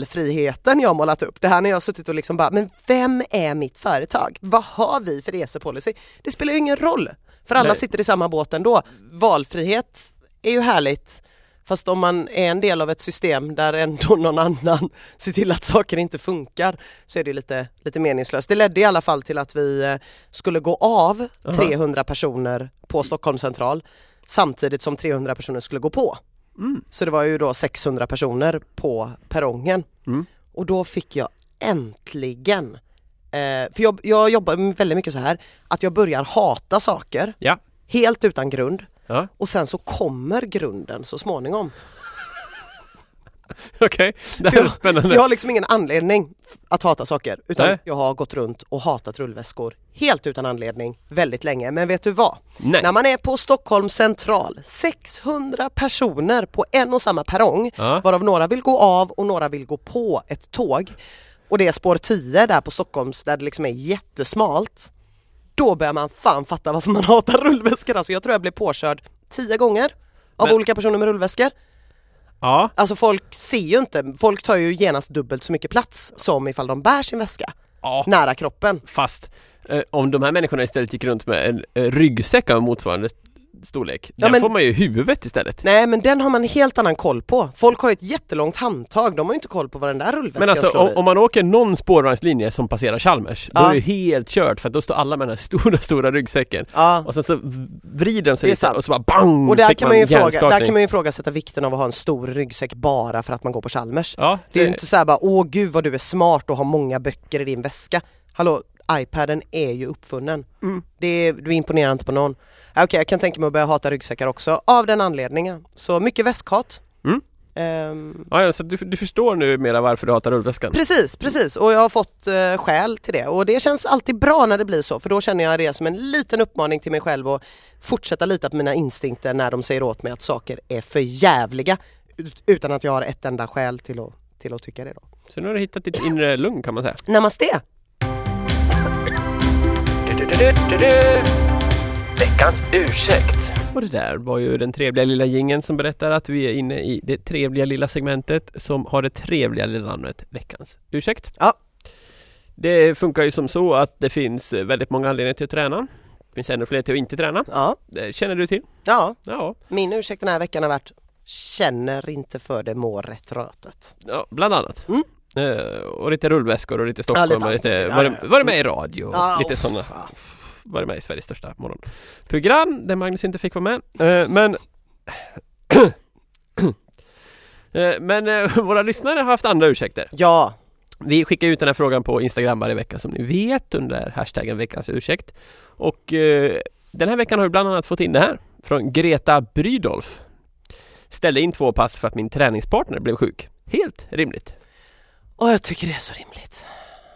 Speaker 2: valfriheten jag målat upp, det här när jag har suttit och liksom bara, men vem är mitt företag? Vad har vi för resepolicy? Det spelar ju ingen roll, för alla
Speaker 1: Nej.
Speaker 2: sitter i samma båt ändå. Valfrihet är ju härligt, fast om man är en del av ett system där ändå någon annan ser till att saker inte funkar så är det ju lite, lite meningslöst. Det ledde i alla fall till att vi eh, skulle gå av
Speaker 1: Aha.
Speaker 2: 300 personer på Stockholm central samtidigt som 300 personer skulle gå på.
Speaker 1: Mm.
Speaker 2: Så det var ju då 600 personer på perrongen.
Speaker 1: Mm.
Speaker 2: Och då fick jag äntligen, eh, för jag, jag jobbar väldigt mycket så här, att jag börjar hata saker
Speaker 1: Ja. <laughs>
Speaker 2: helt utan grund
Speaker 1: Ja.
Speaker 2: och sen så kommer grunden så småningom.
Speaker 1: Okej, det
Speaker 2: Så
Speaker 1: här är
Speaker 2: jag,
Speaker 1: spännande.
Speaker 2: jag har liksom ingen anledning att hata saker utan
Speaker 1: Nej.
Speaker 2: jag har gått runt och hatat rullväskor helt utan anledning väldigt länge. Men vet du vad?
Speaker 1: Nej.
Speaker 2: När man är på Stockholm central, 600 personer på en och samma perrong
Speaker 1: Ja.
Speaker 2: varav några vill gå av och några vill gå på ett tåg och det är spår 10 där på Stockholms där det liksom är jättesmalt. Då börjar man fan fatta varför man <laughs> hatar rullväskor. Alltså jag tror jag blev påkörd 10 gånger av
Speaker 1: Men-
Speaker 2: olika personer med rullväskor.
Speaker 1: Ja,
Speaker 2: Alltså folk ser ju inte, folk tar ju genast dubbelt så mycket plats som ifall de bär sin väska
Speaker 1: ja,
Speaker 2: nära kroppen.
Speaker 1: fast eh, om de här människorna istället gick runt med en eh, ryggsäck av motsvarande st- storlek,
Speaker 2: Ja,
Speaker 1: där
Speaker 2: men-
Speaker 1: får man ju huvudet istället.
Speaker 2: Nej men den har man helt annan koll på. Folk har ju ett jättelångt handtag, de har ju inte koll på vad den där rullväskan
Speaker 1: Men alltså
Speaker 2: slår
Speaker 1: om,
Speaker 2: i.
Speaker 1: om man åker någon spårvagnslinje som passerar Chalmers, då
Speaker 2: Ja.
Speaker 1: är det helt kört för att då står alla med den här stora, stora ryggsäcken.
Speaker 2: Ja.
Speaker 1: Och sen så vrider de sig
Speaker 2: Det är
Speaker 1: lite
Speaker 2: sant.
Speaker 1: och så bara bang!
Speaker 2: Och där
Speaker 1: fick
Speaker 2: kan, man ju fråga, där
Speaker 1: hjärnskakning.
Speaker 2: kan man ju ifrågasätta vikten av att ha en stor ryggsäck bara för att man går på Chalmers.
Speaker 1: Ja,
Speaker 2: Det är ju inte så här bara, åh gud vad du är smart och har många böcker i din väska. Hallå, iPaden är ju uppfunnen. Det är, du imponerar inte på någon. Ja, Okej, jag kan tänka mig att börja hata ryggsäckar också av den anledningen. Så mycket väskhat.
Speaker 1: Mm.
Speaker 2: Ehm,
Speaker 1: Ja, ja, så du, du förstår nu mera varför du hatar rullväskan?
Speaker 2: precis, precis och jag har fått eh, skäl till det och det känns alltid bra när det blir så för då känner jag det som en liten uppmaning till mig själv och fortsätta lita på mina instinkter när de säger åt mig att saker är för jävliga ut- utan att jag har ett enda skäl till att, till att tycka det då.
Speaker 1: Så nu har du hittat ditt inre lugn kan man säga.
Speaker 2: Namaste!
Speaker 1: Veckans ursäkt. Och det där var ju den trevliga lilla gingen som berättar att vi är inne i det trevliga lilla segmentet som har det trevliga lilla namnet Veckans ursäkt.
Speaker 2: Ja.
Speaker 1: Det funkar ju som så att det finns eh, väldigt många anledningar till att träna. Det finns ännu fler till att inte träna.
Speaker 2: Ja,
Speaker 1: Det känner du till?
Speaker 2: ja.
Speaker 1: Ja,
Speaker 2: Min ursäkt den här veckan har varit Känner inte för det mår rätt rötet.
Speaker 1: ja bland annat.
Speaker 2: Mm.
Speaker 1: Eh, och lite rullväskor och lite Stockholm
Speaker 2: Ja, lite
Speaker 1: och lite,
Speaker 2: annat.
Speaker 1: var, det, var det med i radio? och
Speaker 2: Ja,
Speaker 1: lite
Speaker 2: uff.
Speaker 1: sådana. Var det med i Sveriges största morgonprogram där Magnus inte fick vara med. Eh, men <clears throat> Eh, men eh, <laughs> våra lyssnare har haft andra ursäkter.
Speaker 2: Ja,
Speaker 1: Vi skickar ut den här frågan på Instagram varje vecka som ni vet under hashtaggen veckans ursäkt. Och eh, den här veckan har vi bland annat fått in det här från Greta Brydolf. Ställde in två pass för att min träningspartner blev sjuk. Helt rimligt.
Speaker 2: och jag tycker det är så rimligt.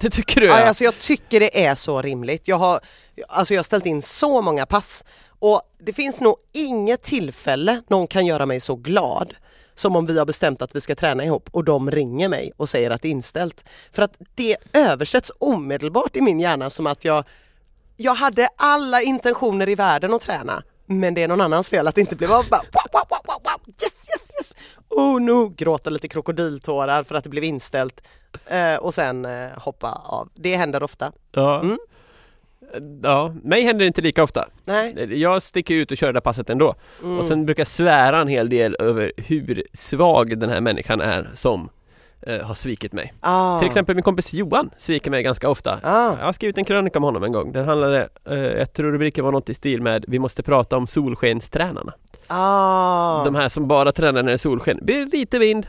Speaker 1: Det tycker du?
Speaker 2: Ja.
Speaker 1: ja.
Speaker 2: alltså jag tycker det är så rimligt. Jag har, alltså jag har ställt in så många pass och det finns nog inget tillfälle någon kan göra mig så glad som om vi har bestämt att vi ska träna ihop och de ringer mig och säger att det är inställt. För att det översätts omedelbart i min hjärna som att jag, jag hade alla intentioner i världen att träna men det är någon annans fel att det inte blev av. Bara, wow, wow, wow, wow, wow. Yes, yes, yes! Oh no! Gråta lite krokodiltårar för att det blev inställt eh, och sen eh, hoppa av. Det händer ofta.
Speaker 1: Ja.
Speaker 2: Mm.
Speaker 1: ja. Mig händer det inte lika ofta.
Speaker 2: Nej.
Speaker 1: Jag sticker ut och kör det där passet ändå.
Speaker 2: Mm.
Speaker 1: Och sen brukar jag svära en hel del över hur svag den här människan är som eh, har svikit mig.
Speaker 2: ah.
Speaker 1: Till exempel min kompis Johan sviker mig ganska ofta.
Speaker 2: Ah.
Speaker 1: Jag har skrivit en krönika om honom en gång. Den handlade, eh, jag tror rubriken var något i stil med Vi måste prata om solskenstränarna.
Speaker 2: Ah.
Speaker 1: De här som bara tränar när det är solsken. Det blir lite vind,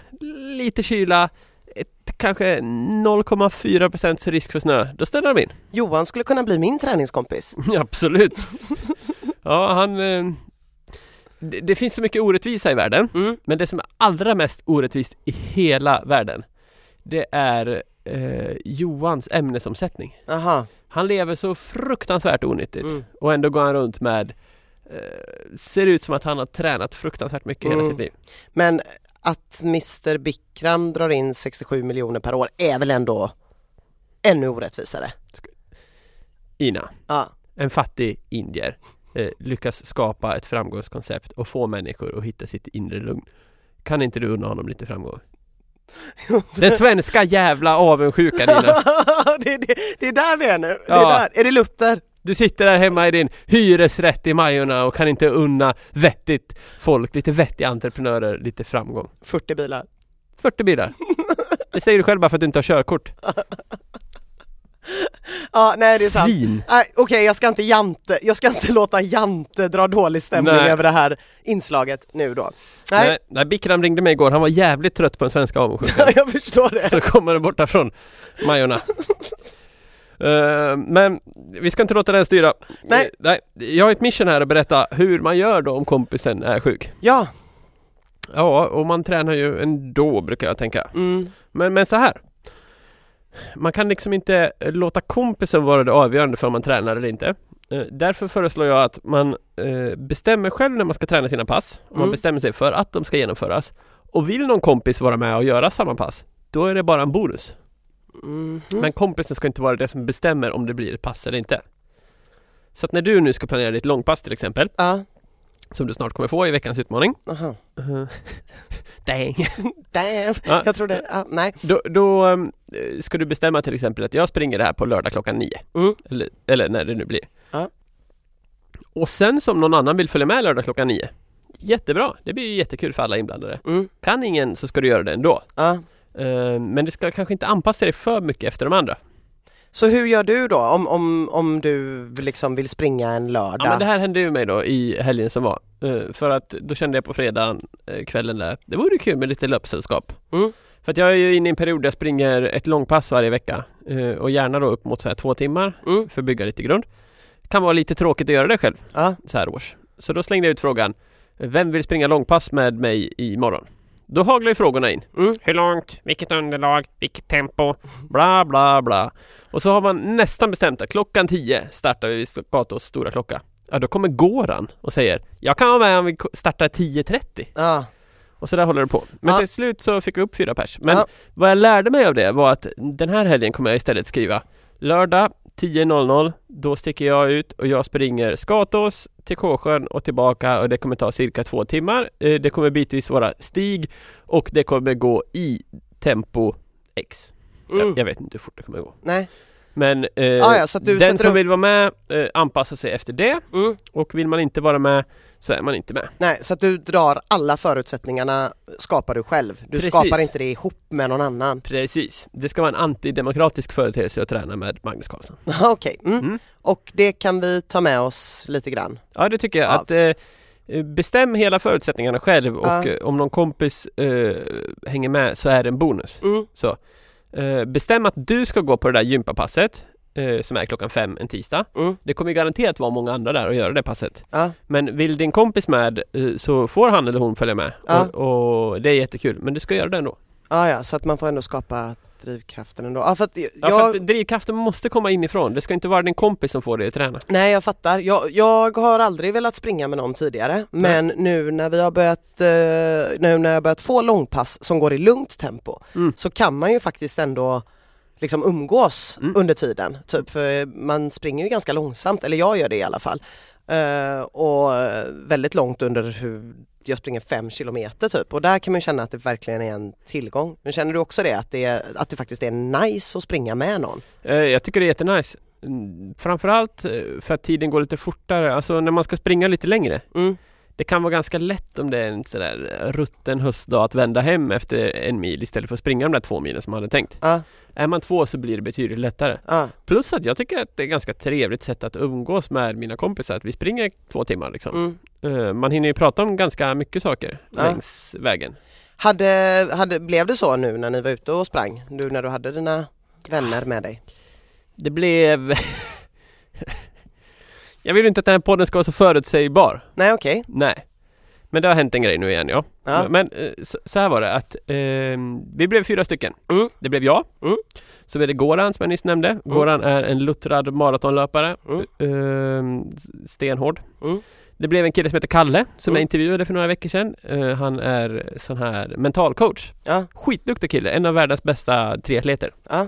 Speaker 1: lite kyla, ett, kanske 0,4% risk för snö. Då ställer de in.
Speaker 2: Johan skulle kunna bli min träningskompis.
Speaker 1: Absolut. <laughs> Ja, han... eh, Det, det finns så mycket orättvisa i världen,
Speaker 2: Mm.
Speaker 1: men det som är allra mest orättvist i hela världen, det är eh, Johans ämnesomsättning.
Speaker 2: Aha.
Speaker 1: Han lever så fruktansvärt onyttigt
Speaker 2: Mm.
Speaker 1: och ändå går han runt med eh, Ser ut som att han har tränat fruktansvärt mycket i hela
Speaker 2: Mm.
Speaker 1: sitt liv.
Speaker 2: Men att Mr Bikram drar in 67 miljoner per år är väl ändå ännu orättvisare?
Speaker 1: Ina,
Speaker 2: Ja.
Speaker 1: en fattig indier, eh, lyckas skapa ett framgångskoncept och få människor att hitta sitt inre lugn. Kan inte du unna honom lite
Speaker 2: <laughs>
Speaker 1: framgång? Den svenska jävla avundsjukan
Speaker 2: <laughs>
Speaker 1: Ina.
Speaker 2: det, är- det, det är där vi är nu. Det
Speaker 1: Ja.
Speaker 2: är, där. är det Luther?
Speaker 1: Du sitter där hemma i din hyresrätt i Majorna och kan inte unna vettigt folk, lite vettiga entreprenörer, lite framgång.
Speaker 2: 40 bilar.
Speaker 1: 40 bilar.
Speaker 2: <laughs>
Speaker 1: Det säger du själv bara för att du inte har körkort.
Speaker 2: Ja, nej det är sant.
Speaker 1: Svin!
Speaker 2: Nej, Okej, jag ska inte jante, jag ska inte låta jante dra dålig stämning
Speaker 1: Nej.
Speaker 2: över det här inslaget nu då. Nej,
Speaker 1: Nej, nej, Bikram ringde mig igår, han var jävligt trött på den svenska avundsjukan.
Speaker 2: jag förstår
Speaker 1: <laughs>
Speaker 2: det.
Speaker 1: Så kommer den borta från
Speaker 2: <laughs>
Speaker 1: Majorna. Eh, men vi ska inte låta den styra.
Speaker 2: Nej.
Speaker 1: Eh, nej. Jag har ett mission här att berätta hur man gör då om kompisen är sjuk.
Speaker 2: Ja,
Speaker 1: Ja, och man tränar ju ändå brukar jag tänka.
Speaker 2: Mm.
Speaker 1: Men, men så här. Man kan liksom inte eh, låta kompisen vara det avgörande för om man tränar eller inte. Eh, Därför föreslår jag att man eh, bestämmer själv när man ska träna sina pass. Om
Speaker 2: Mm.
Speaker 1: man bestämmer sig för att de ska genomföras. Och vill någon kompis vara med och göra samma pass, då är det bara en bonus.
Speaker 2: Mhm.
Speaker 1: Men kompisen ska inte vara det som bestämmer om det blir ett pass eller inte. Så att när du nu ska planera ditt långpass till exempel,
Speaker 2: Ja,
Speaker 1: som du snart kommer få i veckans utmaning.
Speaker 2: <laughs> aha.
Speaker 1: eh, Dang!
Speaker 2: Damn.
Speaker 1: Ja.
Speaker 2: Jag trodde, ja, nej.
Speaker 1: Då, då ehm, ska du bestämma till exempel att jag springer det här på lördag klockan nio.
Speaker 2: Mm.
Speaker 1: Eller, eller när det nu blir.
Speaker 2: Ja.
Speaker 1: Och sen som någon annan vill följa med lördag klockan nio. Jättebra, det blir ju jättekul för alla inblandade.
Speaker 2: Mm.
Speaker 1: Kan ingen så ska du göra det ändå.
Speaker 2: Ja.
Speaker 1: Ehm, Men du ska kanske inte anpassa dig för mycket efter de andra.
Speaker 2: Så hur gör du då om, om, om du liksom vill springa en lördag?
Speaker 1: Ja, men det här hände ju mig då i helgen som var. Eh, För att då kände jag på fredagen, eh, kvällen där, att det vore kul med lite löpsällskap.
Speaker 2: Mm.
Speaker 1: För att jag är ju inne i en period där jag springer ett långpass varje vecka. eh, Och gärna då upp mot så här två timmar.
Speaker 2: Mm.
Speaker 1: för att bygga lite grund. Kan vara lite tråkigt att göra det själv
Speaker 2: Ja.
Speaker 1: så här års. Så då slängde jag ut frågan, vem vill springa långpass med mig imorgon? Då haglar ju frågorna in.
Speaker 2: Mm.
Speaker 1: Hur långt? Vilket underlag? Vilket tempo? Bla bla bla. Och så har man nästan bestämt att klockan 10 startar vi vid Skatos stora klocka. Ja, då kommer Goran och säger Jag kan vara med om vi ko- startar 10.30
Speaker 2: Ja.
Speaker 1: och så där håller det på. Men
Speaker 2: Ja.
Speaker 1: till slut så fick vi upp fyra pers. Men
Speaker 2: Ja.
Speaker 1: vad jag lärde mig av det var att den här helgen kommer jag istället skriva Lördag 10.00 Då sticker jag ut och jag springer Skatås till Kåsjön och tillbaka och det kommer ta cirka två timmar. Eh, Det kommer bitvis vara stig och det kommer gå i tempo X.
Speaker 2: Mm.
Speaker 1: Jag, jag vet inte hur fort det kommer gå.
Speaker 2: Nej.
Speaker 1: Men eh,
Speaker 2: Ah, ja, så att du
Speaker 1: den
Speaker 2: sätter
Speaker 1: som
Speaker 2: upp-
Speaker 1: vill vara med eh, anpassar sig efter det
Speaker 2: Mm.
Speaker 1: och vill man inte vara med så är man inte med.
Speaker 2: Nej, så att du drar alla förutsättningarna skapar du själv. Du
Speaker 1: Precis.
Speaker 2: skapar inte det ihop med någon annan. <laughs>
Speaker 1: Precis. Det ska vara en antidemokratisk företeelse att träna med Magnus Carlsson.
Speaker 2: Okej, mm.
Speaker 1: Mm.
Speaker 2: och det kan vi ta med oss lite grann.
Speaker 1: Ja det tycker jag.
Speaker 2: Ja.
Speaker 1: Att, eh, bestäm hela förutsättningarna själv och
Speaker 2: Ja.
Speaker 1: eh, om någon kompis eh, hänger med så är det en bonus. Så, eh, bestäm att du ska gå på det där gympapasset eh, som är klockan fem en tisdag.
Speaker 2: Mm.
Speaker 1: Det kommer ju garanterat vara många andra där och göra det passet.
Speaker 2: Ja.
Speaker 1: Men vill din kompis med eh, så får han eller hon följa med.
Speaker 2: Ja.
Speaker 1: Och, och det är jättekul. Men du ska göra det ändå.
Speaker 2: Ja, ja, så att man får ändå skapa drivkraften ändå. Ja, för att jag,
Speaker 1: Ja, för att drivkraften måste komma inifrån. Det ska inte vara din kompis som får dig att träna.
Speaker 2: Nej jag fattar. Jag, jag har aldrig velat springa med någon tidigare men nu när vi har börjat, eh, nu när jag börjat få långpass som går i lugnt tempo
Speaker 1: Mm.
Speaker 2: så kan man ju faktiskt ändå liksom umgås
Speaker 1: Mm.
Speaker 2: under tiden. Typ, för man springer ju ganska långsamt, eller jag gör det i alla fall. Eh, och eh, väldigt långt under hur jag springer fem kilometer typ och där kan man ju känna att det verkligen är en tillgång. Men känner du också det att det, är, att det faktiskt är nice att springa med någon?
Speaker 1: Eh, Jag tycker det är jättenice. Mm, Framförallt eh, för att tiden går lite fortare. Alltså när man ska springa lite längre.
Speaker 2: Mm.
Speaker 1: Det kan vara ganska lätt om det är en sådär eh, rutten höstdag att vända hem efter en mil istället för att springa de där två milen som man hade tänkt.
Speaker 2: Ja,
Speaker 1: Är man två så blir det betydligt lättare.
Speaker 2: ja,
Speaker 1: Plus att jag tycker att det är ett ganska trevligt sätt att umgås med mina kompisar. Att vi springer två timmar liksom.
Speaker 2: mm.
Speaker 1: Eh, Man hinner ju prata om ganska mycket saker
Speaker 2: Ja.
Speaker 1: längs vägen.
Speaker 2: Hade, hade, blev det så nu när ni var ute och sprang? Du när du hade dina vänner med dig?
Speaker 1: Det blev... <laughs> jag vill ju inte att den här podden ska vara så förutsägbar.
Speaker 2: Nej okej.
Speaker 1: Nej. Men det har hänt en grej nu igen ja.
Speaker 2: Ja.
Speaker 1: Men eh, så, så här var det att eh, vi blev fyra stycken.
Speaker 2: Mm.
Speaker 1: Det blev jag.
Speaker 2: Mm.
Speaker 1: Så blev det Goran som jag nyss nämnde. Goran är en luttrad maratonlöpare.
Speaker 2: Mm.
Speaker 1: Eh, s- stenhård.
Speaker 2: Mm.
Speaker 1: Det blev en kille som heter Kalle som
Speaker 2: Mm.
Speaker 1: jag intervjuade för några veckor sedan. Eh, han är sån här mentalcoach.
Speaker 2: Ja.
Speaker 1: Skitduktig kille, en av världens bästa triatleter.
Speaker 2: Ja.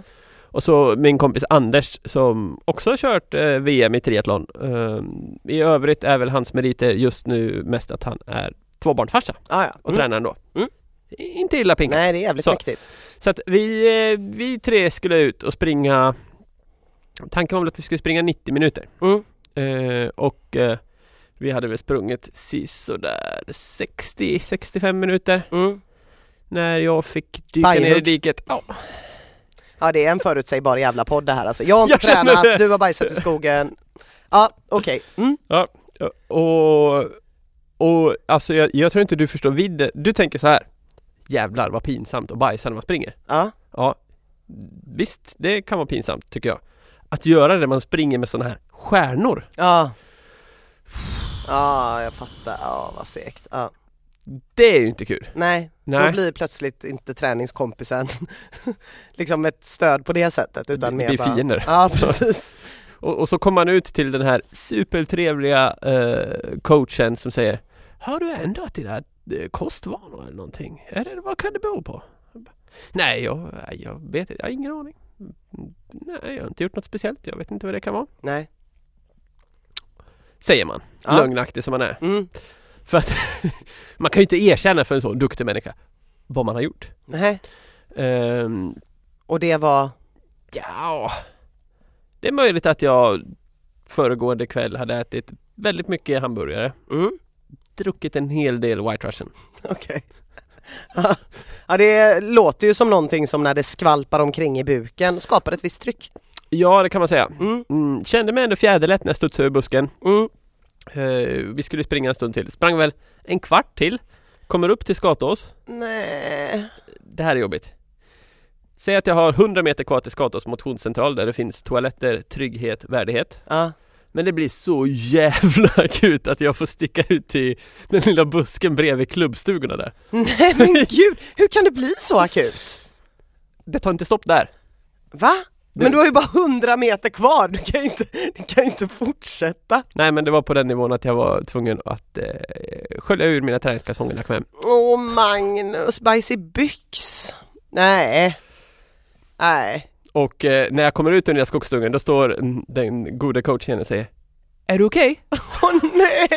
Speaker 1: Och så min kompis Anders som också har kört eh, VM i triathlon. Eh, I övrigt är väl hans meriter just nu mest att han är tvåbarnsfarsa
Speaker 2: Ah, ja.
Speaker 1: och
Speaker 2: Mm.
Speaker 1: tränar ändå.
Speaker 2: Mm.
Speaker 1: I- Inte illa pinkat.
Speaker 2: Nej det är jävligt
Speaker 1: Så.
Speaker 2: mäktigt.
Speaker 1: Så att vi, eh, vi tre skulle ut och springa Tanken var väl att vi skulle springa 90 minuter.
Speaker 2: Mm.
Speaker 1: Eh, och eh, vi hade väl sprungit sisådär 60-65 minuter
Speaker 2: Mm.
Speaker 1: när jag fick dyka ner i
Speaker 2: Bajhugg.
Speaker 1: diket. Ja,
Speaker 2: Ja det är en förutsägbar jävla podd det här alltså. Jag har inte
Speaker 1: Jag känner
Speaker 2: tränat,
Speaker 1: det.
Speaker 2: du har bajsat i skogen. Ja okej. Mm.
Speaker 1: Och, och alltså jag, jag tror inte du förstår vidden. Du tänker så här. Jävlar vad pinsamt att bajsa när man springer.
Speaker 2: Ja.
Speaker 1: Ja, visst det kan vara pinsamt tycker jag. Att göra det när man springer med sådana här stjärnor.
Speaker 2: Ja. Ja jag fattar. Ja vad segt. Ja.
Speaker 1: Det är ju inte kul.
Speaker 2: Nej, då
Speaker 1: Nej.
Speaker 2: blir plötsligt inte träningskompisen <laughs> liksom ett stöd på det sättet utan
Speaker 1: Vi-
Speaker 2: mer
Speaker 1: vi
Speaker 2: bara...
Speaker 1: fiender.
Speaker 2: Ja precis.
Speaker 1: Och, och så kommer man ut till den här supertrevliga eh, coachen som säger Har du ändrat dina eh, kostvanor eller någonting? Är det, vad kan det bero på? Jag bara, Nej, jag, nej, jag vet inte. Jag har ingen aning. Mm, Nej, jag har inte gjort något speciellt. Jag vet inte vad det kan vara.
Speaker 2: Nej.
Speaker 1: Säger man.
Speaker 2: Ja.
Speaker 1: Lögnaktig som man är.
Speaker 2: Mm.
Speaker 1: För att <laughs> man kan ju inte erkänna för en sån duktig människa vad man har gjort.
Speaker 2: Nej.
Speaker 1: Ehm,
Speaker 2: Och det var...
Speaker 1: Ja, det är möjligt att jag föregående kväll hade ätit väldigt mycket hamburgare,
Speaker 2: Mm.
Speaker 1: druckit en hel del White Russian.
Speaker 2: Okej. ja det låter ju som någonting som när det skvalpar omkring i buken skapar ett visst tryck.
Speaker 1: Ja, det kan man säga.
Speaker 2: Mm.
Speaker 1: Mm, kände mig ändå fjäderlätt när jag studsade ur busken.
Speaker 2: Mm.
Speaker 1: Eh, vi skulle springa en stund till. Sprang väl en kvart till. Kommer upp till Skatås.
Speaker 2: Nej.
Speaker 1: Det här är jobbigt. Säg att jag har 100 meter kvar till Skatås motionscentral där det finns toaletter, trygghet, värdighet.
Speaker 2: Ja.
Speaker 1: Men det blir så jävla <laughs> akut att jag får sticka ut till den lilla busken bredvid klubbstugorna där.
Speaker 2: <laughs> Nej men gud, hur kan det bli så akut?
Speaker 1: det tar inte stopp där.
Speaker 2: Va?
Speaker 1: Det-
Speaker 2: Men du har ju bara 100 meter kvar, du kan ju inte, du kan ju inte fortsätta.
Speaker 1: Nej men det var på den nivån att jag var tvungen att eh, skölja ur mina träningskalsonger när jag kom hem.
Speaker 2: Åh Magnus, bajs i byx. Nej. Nej.
Speaker 1: Och eh, när jag kommer ut ur den där skogsdungen då står mm, den goda coachen och säger Är du okej?
Speaker 2: Åh nej.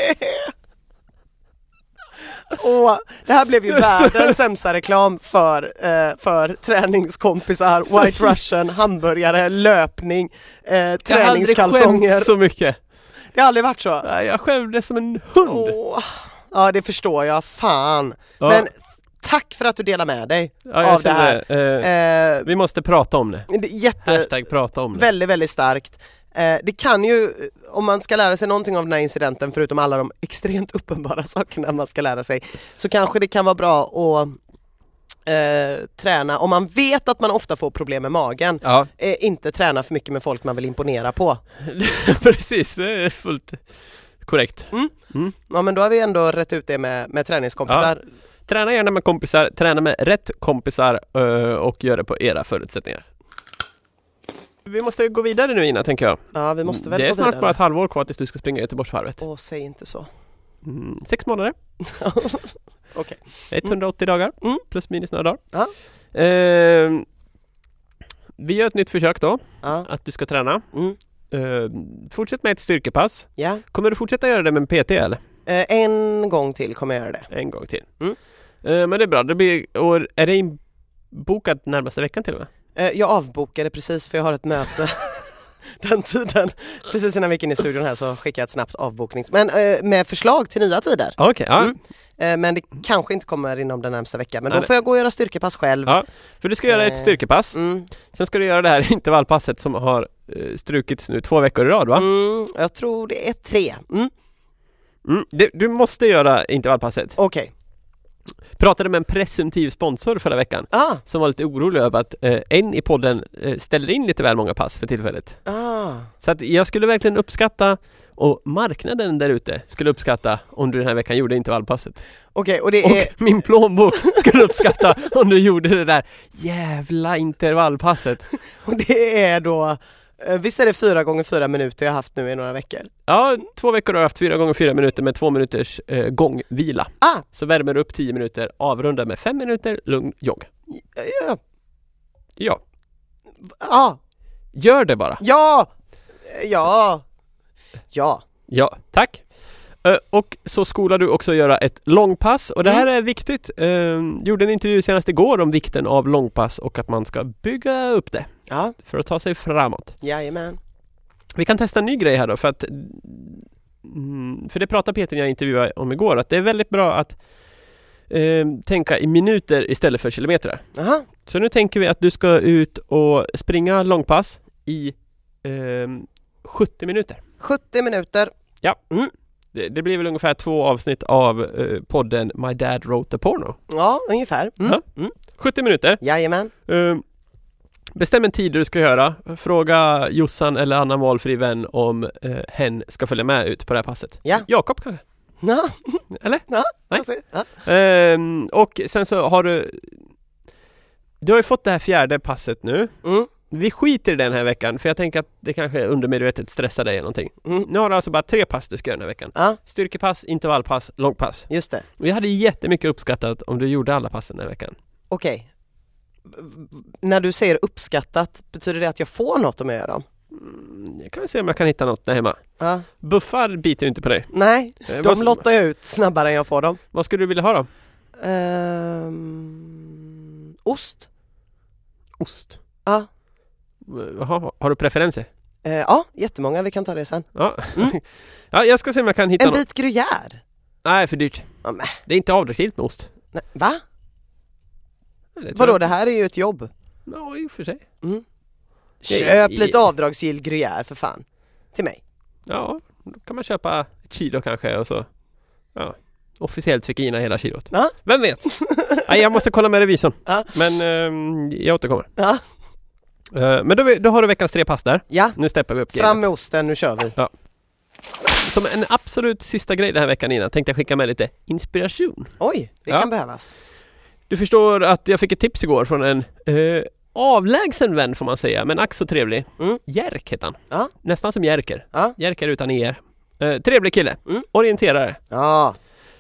Speaker 2: Åh, det här blev ju världens sämsta reklam för, eh, för träningskompisar, White Russian, hamburgare, löpning, eh,
Speaker 1: Jag har aldrig
Speaker 2: träningskalsonger.
Speaker 1: skämt så mycket.
Speaker 2: Det har aldrig varit så.
Speaker 1: Nej, Jag skämdes som en hund.
Speaker 2: Åh. Ja det förstår jag, fan.
Speaker 1: Ja.
Speaker 2: Men tack för att du delar med dig
Speaker 1: ja, jag
Speaker 2: av det här.
Speaker 1: kände, Eh,
Speaker 2: Eh,
Speaker 1: vi måste prata om det.
Speaker 2: det är jätte,
Speaker 1: Hashtag prata om det.
Speaker 2: Mm. väldigt, väldigt starkt. Eh, det kan ju, eh, om man ska lära sig någonting av den här incidenten, förutom alla de <laughs> extremt uppenbara sakerna man ska lära sig, så kanske det kan vara bra att eh, träna, om man vet att man ofta får problem med magen,
Speaker 1: Ja,
Speaker 2: eh, inte träna för mycket med folk man vill imponera på.
Speaker 1: <laughs> precis. Det är fullt korrekt.
Speaker 2: Ja men då har vi ändå rätt ut det med, med träningskompisar.
Speaker 1: Träna gärna med kompisar, träna med rätt kompisar eh, och gör det på era förutsättningar. Vi måste ju gå vidare nu Ina, tänker jag.
Speaker 2: Ja, vi måste väl
Speaker 1: det är
Speaker 2: gå
Speaker 1: snart
Speaker 2: vidare.
Speaker 1: bara ett halvår kvar tills du ska springa Göteborgsvarvet.
Speaker 2: Åh, säg inte så.
Speaker 1: Mm, sex månader,
Speaker 2: <laughs> Okej.
Speaker 1: 180 dagar,
Speaker 2: Mm.
Speaker 1: plus minus några dagar.
Speaker 2: Ja.
Speaker 1: Ehm, vi gör ett nytt försök då,
Speaker 2: Ja.
Speaker 1: att du ska träna.
Speaker 2: Mm.
Speaker 1: Ehm, fortsätt med ett styrkepass.
Speaker 2: ja.
Speaker 1: Kommer du fortsätta göra det med en PT eller?
Speaker 2: Eh, en gång till kommer jag göra det.
Speaker 1: En gång till.
Speaker 2: Mm.
Speaker 1: Ehm, men det är bra, det blir, och är det inbokat närmaste veckan till och med?
Speaker 2: Eh, jag avbokade precis för jag har ett möte <laughs> den tiden. Precis innan vi gick in i studion här så skickade jag ett snabbt avboknings... Men eh, med förslag till nya tider.
Speaker 1: Okej, ja.
Speaker 2: Mm. Eh, men det kanske inte kommer inom den närmsta veckan. Men
Speaker 1: Nej,
Speaker 2: då
Speaker 1: det-
Speaker 2: får jag gå och göra styrkepass själv.
Speaker 1: Ja. För du ska göra ett
Speaker 2: Eh.
Speaker 1: styrkepass,
Speaker 2: Mm.
Speaker 1: sen ska du göra det här <laughs> intervallpasset som har eh, strukits nu två veckor i rad va?
Speaker 2: Mm, jag tror det är tre. Mm.
Speaker 1: Mm. Du, du måste göra intervallpasset.
Speaker 2: Okej.
Speaker 1: Pratade med en presumtiv sponsor förra veckan
Speaker 2: Ah,
Speaker 1: som var lite orolig över att eh, en i podden eh, ställer in lite väl många pass för tillfället.
Speaker 2: ah.
Speaker 1: Så att jag skulle verkligen uppskatta och marknaden där ute skulle uppskatta om du den här veckan gjorde intervallpasset.
Speaker 2: Okej, och det
Speaker 1: Och
Speaker 2: är...
Speaker 1: min plånbok skulle uppskatta om du gjorde det där jävla intervallpasset.
Speaker 2: Och det är då... eh, Visst är det fyra gånger fyra minuter jag haft nu i några veckor?
Speaker 1: Ja, två veckor har jag haft fyra gånger fyra minuter med två minuters eh, gångvila.
Speaker 2: Ah,
Speaker 1: Så värmer du upp 10 minuter, avrundar med 5 minuter lugn jogg.
Speaker 2: ja,
Speaker 1: Ja,
Speaker 2: ja,
Speaker 1: gör det bara.
Speaker 2: ja, ja, ja.
Speaker 1: Ja, tack. Ö, Och så skolar du också göra ett långpass och det här är viktigt. Ehm, Gjorde en intervju senast igår om vikten av långpass och att man ska bygga upp det
Speaker 2: Ja,
Speaker 1: för att ta sig framåt.
Speaker 2: jajamän.
Speaker 1: Vi kan testa en ny grej här då för att mm, för det pratade Peter när jag intervjuade om igår att det är väldigt bra att ehm, tänka i minuter istället för kilometrar.
Speaker 2: Aha.
Speaker 1: Så nu tänker vi att du ska ut och springa långpass i ehm, 70 minuter.
Speaker 2: 70 minuter.
Speaker 1: Det, det blir väl ungefär två avsnitt av eh, podden My Dad Wrote a Porno.
Speaker 2: Ja, ungefär. Mm.
Speaker 1: Ja. 70 minuter.
Speaker 2: Jajamän.
Speaker 1: Ehm, bestäm en tid du ska göra. Fråga Jossan eller annan valfri vän om eh, hen ska följa med ut på det här passet.
Speaker 2: Ja.
Speaker 1: Jakob kanske?
Speaker 2: <laughs> Ja,
Speaker 1: Eller?
Speaker 2: ja,
Speaker 1: Nej.
Speaker 2: jag ser. ja.
Speaker 1: Ehm, och sen så har du Du har ju fått det här fjärde passet nu
Speaker 2: Mm,
Speaker 1: Vi skiter i den här veckan för jag tänker att det kanske undermedvetet stressar dig eller någonting
Speaker 2: mm,
Speaker 1: Nu har du alltså bara tre pass du ska göra den här veckan
Speaker 2: ja,
Speaker 1: Styrkepass, intervallpass, långpass
Speaker 2: just det.
Speaker 1: Och jag hade jättemycket uppskattat om du gjorde alla passen den här veckan
Speaker 2: Okej. V- v- När du säger uppskattat, betyder det att jag får något om jag gör dem?
Speaker 1: Mm, Jag kan se om jag kan hitta något där hemma
Speaker 2: Ja.
Speaker 1: Buffar biter ju inte på dig
Speaker 2: Nej,
Speaker 1: Eh,
Speaker 2: de
Speaker 1: vad,
Speaker 2: lottar jag ut snabbare än jag får dem.
Speaker 1: vad skulle du vilja ha då?
Speaker 2: Ehm, ost?
Speaker 1: Ost
Speaker 2: Ja.
Speaker 1: Eh, Jaha, har du preferenser?
Speaker 2: Eh, ja, jättemånga. Vi kan ta det sen.
Speaker 1: Ja. <laughs> ja, jag ska se om jag kan hitta
Speaker 2: Mm. En
Speaker 1: något
Speaker 2: bit gruyère?
Speaker 1: Nej, för dyrt
Speaker 2: Ja, men.
Speaker 1: Det är inte avdragsgillt med ost
Speaker 2: Nej, va?
Speaker 1: Det tror
Speaker 2: Vadå,
Speaker 1: jag-
Speaker 2: det här är ju ett jobb.
Speaker 1: Ja, i och för sig.
Speaker 2: Köp
Speaker 1: i-
Speaker 2: lite avdragsgill gruyère för fan. Till mig.
Speaker 1: Ja, då kan man köpa ett kilo kanske och så. Ja. Officiellt fick Ina hela kilot.
Speaker 2: Ja.
Speaker 1: Vem
Speaker 2: <laughs>
Speaker 1: vet? Nej, jag måste kolla med revisorn.
Speaker 2: Ja.
Speaker 1: Men ehm, jag återkommer.
Speaker 2: Ja.
Speaker 1: Eh, men då, vi- då har du veckans tre pass där.
Speaker 2: Ja,
Speaker 1: Nu steppar vi upp grejen.
Speaker 2: fram med osten, nu kör vi.
Speaker 1: Som en absolut sista grej den här veckan Ina, tänkte jag skicka med lite inspiration.
Speaker 2: Oj, det
Speaker 1: Ja.
Speaker 2: kan behövas.
Speaker 1: Du förstår att jag fick ett tips igår från en eh, avlägsen vän får man säga, men ack så trevlig.
Speaker 2: Mm.
Speaker 1: Jerk heter han.
Speaker 2: Ja.
Speaker 1: Nästan som Jerker.
Speaker 2: Ja.
Speaker 1: Jerker utan er. Eh, trevlig kille.
Speaker 2: Mm.
Speaker 1: Orienterare.
Speaker 2: Ja,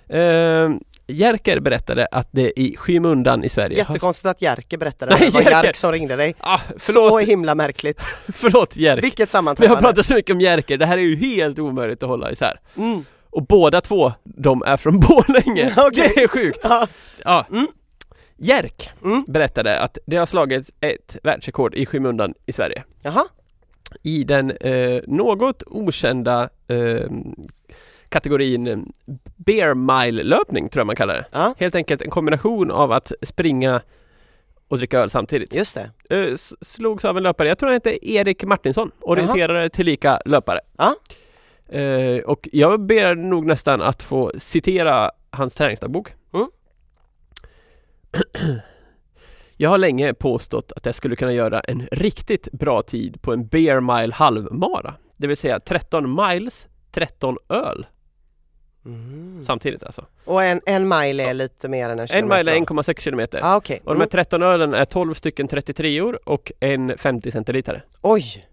Speaker 1: Eh, Jerker berättade att det i skymundan i Sverige
Speaker 2: jättekonstigt att Jerker berättade det.
Speaker 1: Nej,
Speaker 2: Det var
Speaker 1: Jerker.
Speaker 2: Jerk som ringde dig.
Speaker 1: Ah,
Speaker 2: Så
Speaker 1: förlåt, <laughs>
Speaker 2: himla märkligt.
Speaker 1: förlåt Jerker.
Speaker 2: Vilket
Speaker 1: Vi har
Speaker 2: sammanträffande.
Speaker 1: pratat så mycket om Jerker, det här är ju helt omöjligt att hålla isär.
Speaker 2: Mm.
Speaker 1: Och båda två, de är från <laughs> Borlänge.
Speaker 2: Okej.
Speaker 1: Det är sjukt.
Speaker 2: Ja.
Speaker 1: Ja.
Speaker 2: Mm.
Speaker 1: Jerk
Speaker 2: Mm.
Speaker 1: berättade att det har slagits ett världsrekord i skymundan i Sverige.
Speaker 2: Jaha,
Speaker 1: I den eh, något okända eh, kategorin eh, bear mile-löpning tror jag man kallar det.
Speaker 2: Ja.
Speaker 1: Helt enkelt en kombination av att springa och dricka öl samtidigt.
Speaker 2: just det.
Speaker 1: eh, s- slogs av en löpare, jag tror han hette Erik Martinsson, orienterare tillika löpare.
Speaker 2: Ja.
Speaker 1: Eh, och jag ber nog nästan att få citera hans träningsdagbok.
Speaker 2: Mm.
Speaker 1: <clears throat> Jag har länge påstått att jag skulle kunna göra en riktigt bra tid på en bear mile halvmara, det vill säga 13 miles, 13 öl
Speaker 2: Mm.
Speaker 1: samtidigt alltså.
Speaker 2: Och en, en mile är lite mer än en
Speaker 1: En
Speaker 2: kilometer?
Speaker 1: mile är
Speaker 2: va?
Speaker 1: 1,6 kilometer.
Speaker 2: Ah, okej.
Speaker 1: Och de här
Speaker 2: Mm.
Speaker 1: 13 ölen är 12 stycken 33or och en 50 centilitare.
Speaker 2: Oj,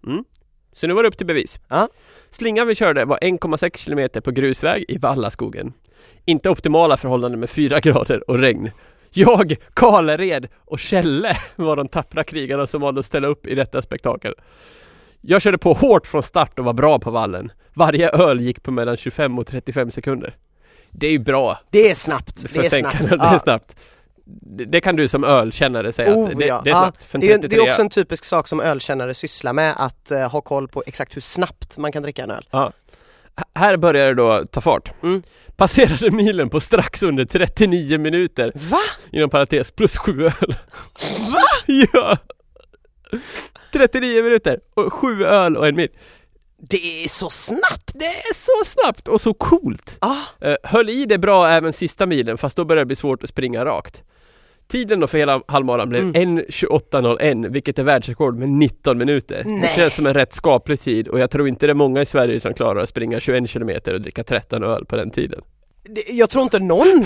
Speaker 1: Så nu var det upp till bevis.
Speaker 2: Ja.
Speaker 1: Slingan vi körde var 1,6 kilometer på grusväg i Vallaskogen. Inte optimala förhållanden med 4 grader och regn. Jag, Karlared och Kjelle <laughs> var de tappra krigarna som valde att ställa upp i detta spektakel. Jag körde på hårt från start och var bra på vallen. Varje öl gick på mellan 25 och 35 sekunder. Det är ju bra
Speaker 2: det är snabbt.
Speaker 1: för
Speaker 2: Det är
Speaker 1: sänkarna, <laughs>
Speaker 2: snabbt.
Speaker 1: det är
Speaker 2: Ja.
Speaker 1: snabbt. Det det kan du som ölkännare säga
Speaker 2: Oh,
Speaker 1: att det,
Speaker 2: ja.
Speaker 1: det är
Speaker 2: Ja,
Speaker 1: snabbt. för en
Speaker 2: Det är, ju- det
Speaker 1: 33.
Speaker 2: är också en typisk sak som ölkännare sysslar med, att eh, ha koll på exakt hur snabbt man kan dricka en öl.
Speaker 1: Här börjar det då ta fart.
Speaker 2: Mm.
Speaker 1: Passerade milen på strax under 39 minuter,
Speaker 2: Va?
Speaker 1: inom parentes, plus 7 öl. Va? <laughs> ja! 39 minuter och 7 öl och en mil.
Speaker 2: Det är så snabbt!
Speaker 1: Det är så snabbt och så coolt!
Speaker 2: Ah,
Speaker 1: Eh, höll i det bra även sista milen, fast då började det bli svårt att springa rakt. Tiden då för hela halvmaran blev
Speaker 2: Mm.
Speaker 1: 1.28.01, vilket är världsrekord med 19 minuter.
Speaker 2: Nej.
Speaker 1: Det känns som en rätt skaplig tid och jag tror inte det är många i Sverige som klarar att springa 21 kilometer och dricka 13 öl på den tiden.
Speaker 2: det, jag tror
Speaker 1: <laughs>
Speaker 2: inte någon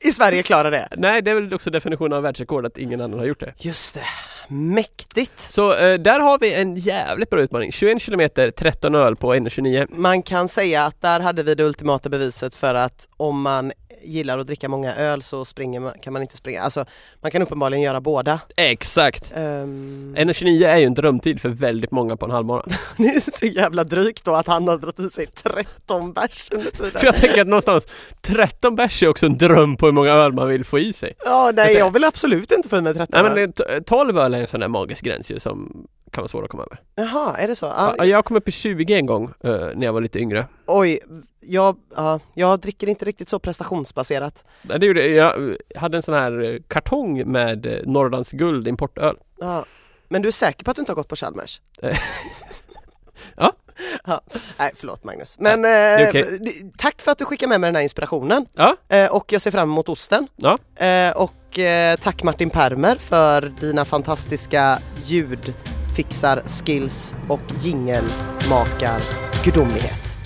Speaker 2: i Sverige klarar det.
Speaker 1: Nej, det är väl också definitionen av världsrekord att ingen annan har gjort det.
Speaker 2: Just det, mäktigt.
Speaker 1: Så eh, där har vi en jävligt bra utmaning. 21 kilometer, 13 öl på 1.29.
Speaker 2: Man kan säga att där hade vi det ultimata beviset för att om man gillar att dricka många öl så springer man, kan man inte springa. Alltså, man kan uppenbarligen göra båda.
Speaker 1: Exakt!
Speaker 2: Ehm,
Speaker 1: 1.29 är ju en drömtid för väldigt många på en halvmara.
Speaker 2: <laughs> det är så jävla drygt då att han har dragit i sig 13 bärs under tiden.
Speaker 1: För jag tänker att någonstans 13 bärs är också en dröm på hur många öl man vill få i sig.
Speaker 2: Ja, nej
Speaker 1: Vänta.
Speaker 2: jag vill absolut inte få i mig 13
Speaker 1: Nej men
Speaker 2: öl.
Speaker 1: det- t- 12 öl är en sån där magisk gräns ju som kan vara svår att komma över.
Speaker 2: Jaha, är det så? Ja,
Speaker 1: Ja, jag kom upp i 20 en gång eh, när jag var lite yngre.
Speaker 2: Oj, jag, ja, jag dricker inte riktigt så prestationsbaserat.
Speaker 1: Nej, Det gjorde, jag eh, hade en sån här eh, kartong med eh, Norrlands guld importöl.
Speaker 2: Ja. Men du är säker på att du inte har gått på Chalmers?
Speaker 1: Eh. Ja.
Speaker 2: Ja. Nej, förlåt Magnus. Men eh,
Speaker 1: okej.
Speaker 2: d- tack för att du skickar med mig den här inspirationen.
Speaker 1: Ja.
Speaker 2: Eh, och jag ser fram emot osten.
Speaker 1: Ja.
Speaker 2: Eh, och eh, tack Martin Permer för dina fantastiska ljudfixar, skills och jingelmakar gudomlighet.